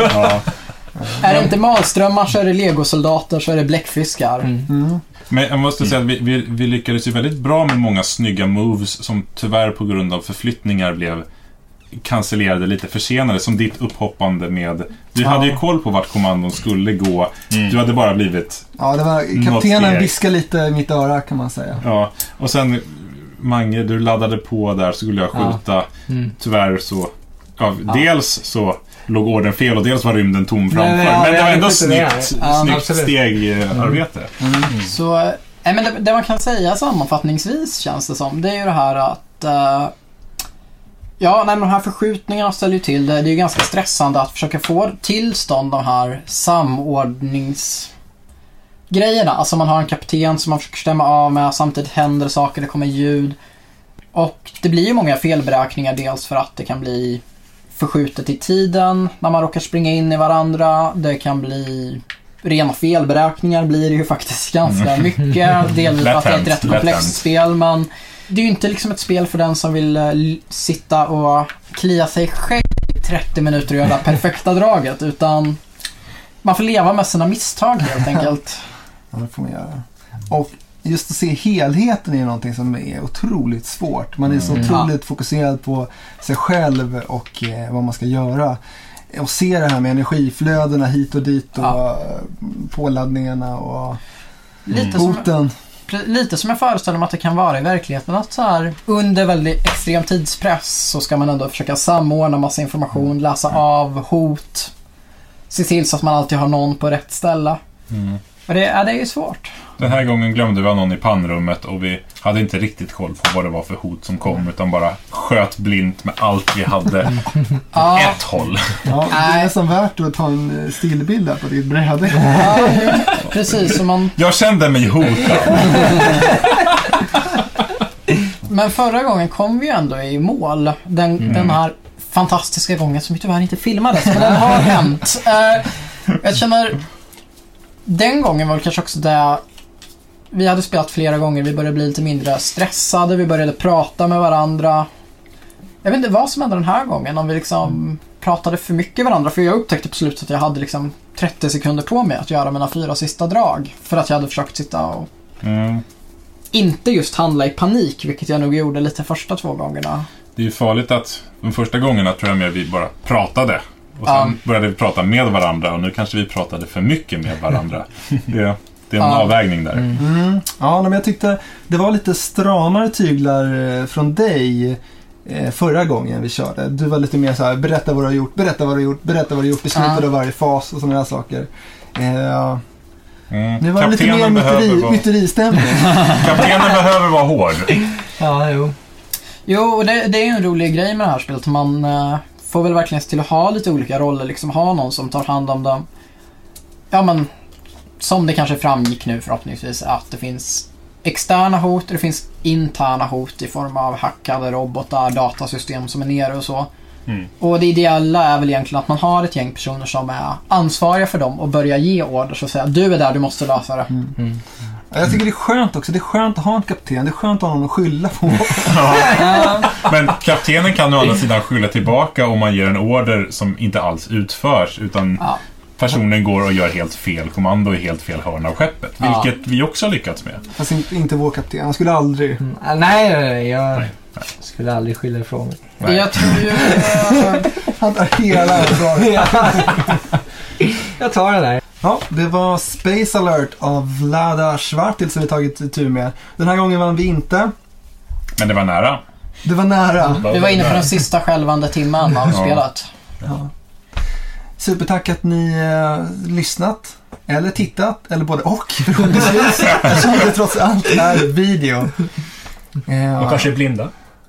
S2: Är det inte malströmmar så är det legosoldater så är det bläckfiskar.
S7: Men jag måste säga att vi, vi, vi lyckades ju väldigt bra med många snygga moves som tyvärr på grund av förflyttningar blev cancellerade lite försenade. Som ditt upphoppande med... Du hade ju koll på vart kommandon skulle gå. Du hade bara blivit...
S6: Ja, det var,
S7: Något
S6: kaptenen
S7: steg.
S6: viskade lite i mitt öra kan man säga.
S7: Ja. Och sen, Mange, du laddade på där så skulle jag skjuta. Tyvärr så... Ja, Dels så låg orden fel och dels var rymden tom framför.
S4: men
S7: Men,
S4: ja, vi
S7: det var
S4: hade
S7: ändå
S4: skjutit det här.
S7: snyggt,
S2: Ja,
S7: snyggt eh,
S4: absolut.
S7: stegarbete.
S2: Så, eh, nej, men det, det man kan säga sammanfattningsvis känns det som, det är ju det här att eh, Ja, nej, men de här förskjutningarna ställer ju till det. Det är ju ganska stressande att försöka få tillstånd de här samordnings... grejerna. Alltså man har en kapten som man försöker stämma av med, samtidigt händer saker, det kommer ljud. Och det blir ju många felberäkningar, dels för att det kan bli förskjutet i tiden när man råkar springa in i varandra. Det kan bli rena felberäkningar blir det ju faktiskt ganska mycket. Delvis för att det är ett
S7: Mm. Lätt hänt,
S2: rätt
S7: lätt
S2: komplext
S7: hänt.
S2: spel, men det är ju inte liksom ett spel för den som vill eh, l- sitta och klia sig själv i 30 minuter och göra det perfekta draget, utan man får leva med sina misstag helt enkelt.
S6: Ja, det får man göra. Och just att se helheten är någonting som är otroligt svårt. Man är
S2: Mm.
S6: så otroligt fokuserad på sig själv och eh, vad man ska göra. Och se det här med energiflödena hit och dit och
S2: Ja.
S6: eh, påladdningarna och
S2: Lite
S7: Mm.
S2: som,
S6: hoten.
S2: pre- lite som jag föreställer mig att det kan vara i verkligheten. Att så här, under väldigt extrem tidspress så ska man ändå försöka samordna massa information, läsa
S7: Mm.
S2: av hot, se till så att man alltid har någon på rätt ställe.
S7: Mm.
S2: Och det, ja, det är ju svårt.
S7: Den här gången glömde vi ha någon i pannrummet och vi hade inte riktigt koll på vad det var för hot som kom utan bara sköt blint med allt vi hade
S2: Ja.
S7: ett håll.
S6: Ja, det är
S2: Nej.
S6: nästan värt att ta en eh, stillbild här på ditt bräde.
S2: Ja, precis. Och man,
S7: Jag kände mig hotad.
S2: men förra gången kom vi ju ändå i mål. Den, den här fantastiska gången som vi tyvärr inte filmades, men den har hänt. Eh, jag känner, den gången var det kanske också det vi hade spelat flera gånger, vi började bli lite mindre stressade, vi började prata med varandra. Jag vet inte vad som hände den här gången, om vi liksom pratade för mycket med varandra. För jag upptäckte på slutet att jag hade liksom 30 sekunder på mig att göra mina fyra sista drag. För att jag hade försökt sitta och
S7: Mm.
S2: inte just handla i panik, vilket jag nog gjorde lite första två gångerna.
S7: Det är ju farligt att de första gångerna tror jag mer vi bara pratade. Och sen
S2: Ja.
S7: började vi prata med varandra och nu kanske vi pratade för mycket med varandra. Det, det är en
S2: Ja.
S7: avvägning där.
S6: Mm. Ja, men jag tyckte det var lite stramare tyglar eh, från dig eh, förra gången vi körde. Du var lite mer så här, berätta vad du har gjort, berätta vad du har gjort, berätta vad du har gjort i slutet
S2: Ja.
S6: av varje fas och sådana här saker. Eh,
S7: Mm.
S6: nu var det lite mer myteri,
S7: vara,
S6: myteristämning.
S7: kaptenen behöver vara hård.
S4: Ja, jo.
S2: Jo, och det, det är ju en rolig grej med det här spelet. Man eh, får väl verkligen se till att ha lite olika roller, liksom ha någon som tar hand om dem. Ja, men som det kanske framgick nu förhoppningsvis, att det finns externa hot och det finns interna hot i form av hackade robotar, datasystem som är nere och så.
S3: Mm.
S2: Och det ideala är väl egentligen att man har ett gäng personer som är ansvariga för dem och börjar ge order och säga du är där, du måste lösa det.
S6: Ja, jag tycker det är skönt också. Det är skönt att ha en kapten. Det är skönt att ha någon att skylla på.
S7: Men kaptenen kan å andra sidan skylla tillbaka om man ger en order som inte alls utförs utan
S2: Ja.
S7: personen går och gör helt fel kommando i helt fel hörn av skeppet.
S2: Ja.
S7: Vilket vi också har lyckats med.
S6: Fast inte, inte vår kapten. Han skulle aldrig...
S4: Mm, ah, Nej, nej, nej, jag skulle aldrig skylla ifrån mig.
S7: Nej.
S2: Jag tror ju... eh,
S6: Han tar hela ansvaret.
S4: Jag tar den där.
S6: Ja, det var Space Alert av Vlada Svartil som vi tagit tur med. Den här gången vann vi inte.
S7: Men det var nära.
S6: Det var nära.
S2: Vi var inne på den sista skälvande timmen av
S7: Ja.
S2: spelet.
S6: Ja. Supertack att ni eh, lyssnat. Eller tittat, eller både och förhoppningsvis. Eftersom det trots allt är video. Eh,
S3: De kanske är blinda.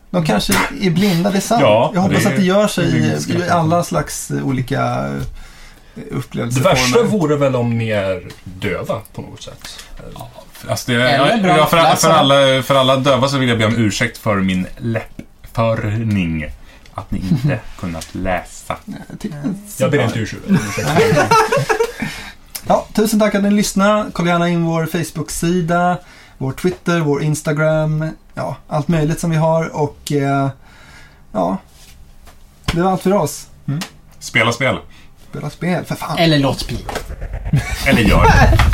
S6: de kanske är blinda, det är sant.
S7: Ja,
S6: Jag hoppas
S7: det är-
S6: att det gör sig
S7: det är
S6: i,
S7: mycket
S6: i alla slags eh, olika eh,
S3: Det värsta
S6: upplevelseformer.
S3: vore väl om ni är döva på något sätt.
S7: Alltså det,
S2: Eller bra
S7: ja, för, för,
S2: uppläsare.
S7: alla, för alla döva så vill jag be om ursäkt för min läppförning. Att ni inte kunnat läsa.
S6: Jag tyckte-
S3: Jag ber inte ursäkt.
S6: Ja, tusen tack att ni lyssnade. Kolla gärna in vår Facebook-sida, vår Twitter, vår Instagram. Ja, allt möjligt som vi har och eh, ja, det var allt för oss.
S7: Spela spel.
S6: Spela spel, för fan.
S2: Eller låt bli.
S7: Eller gör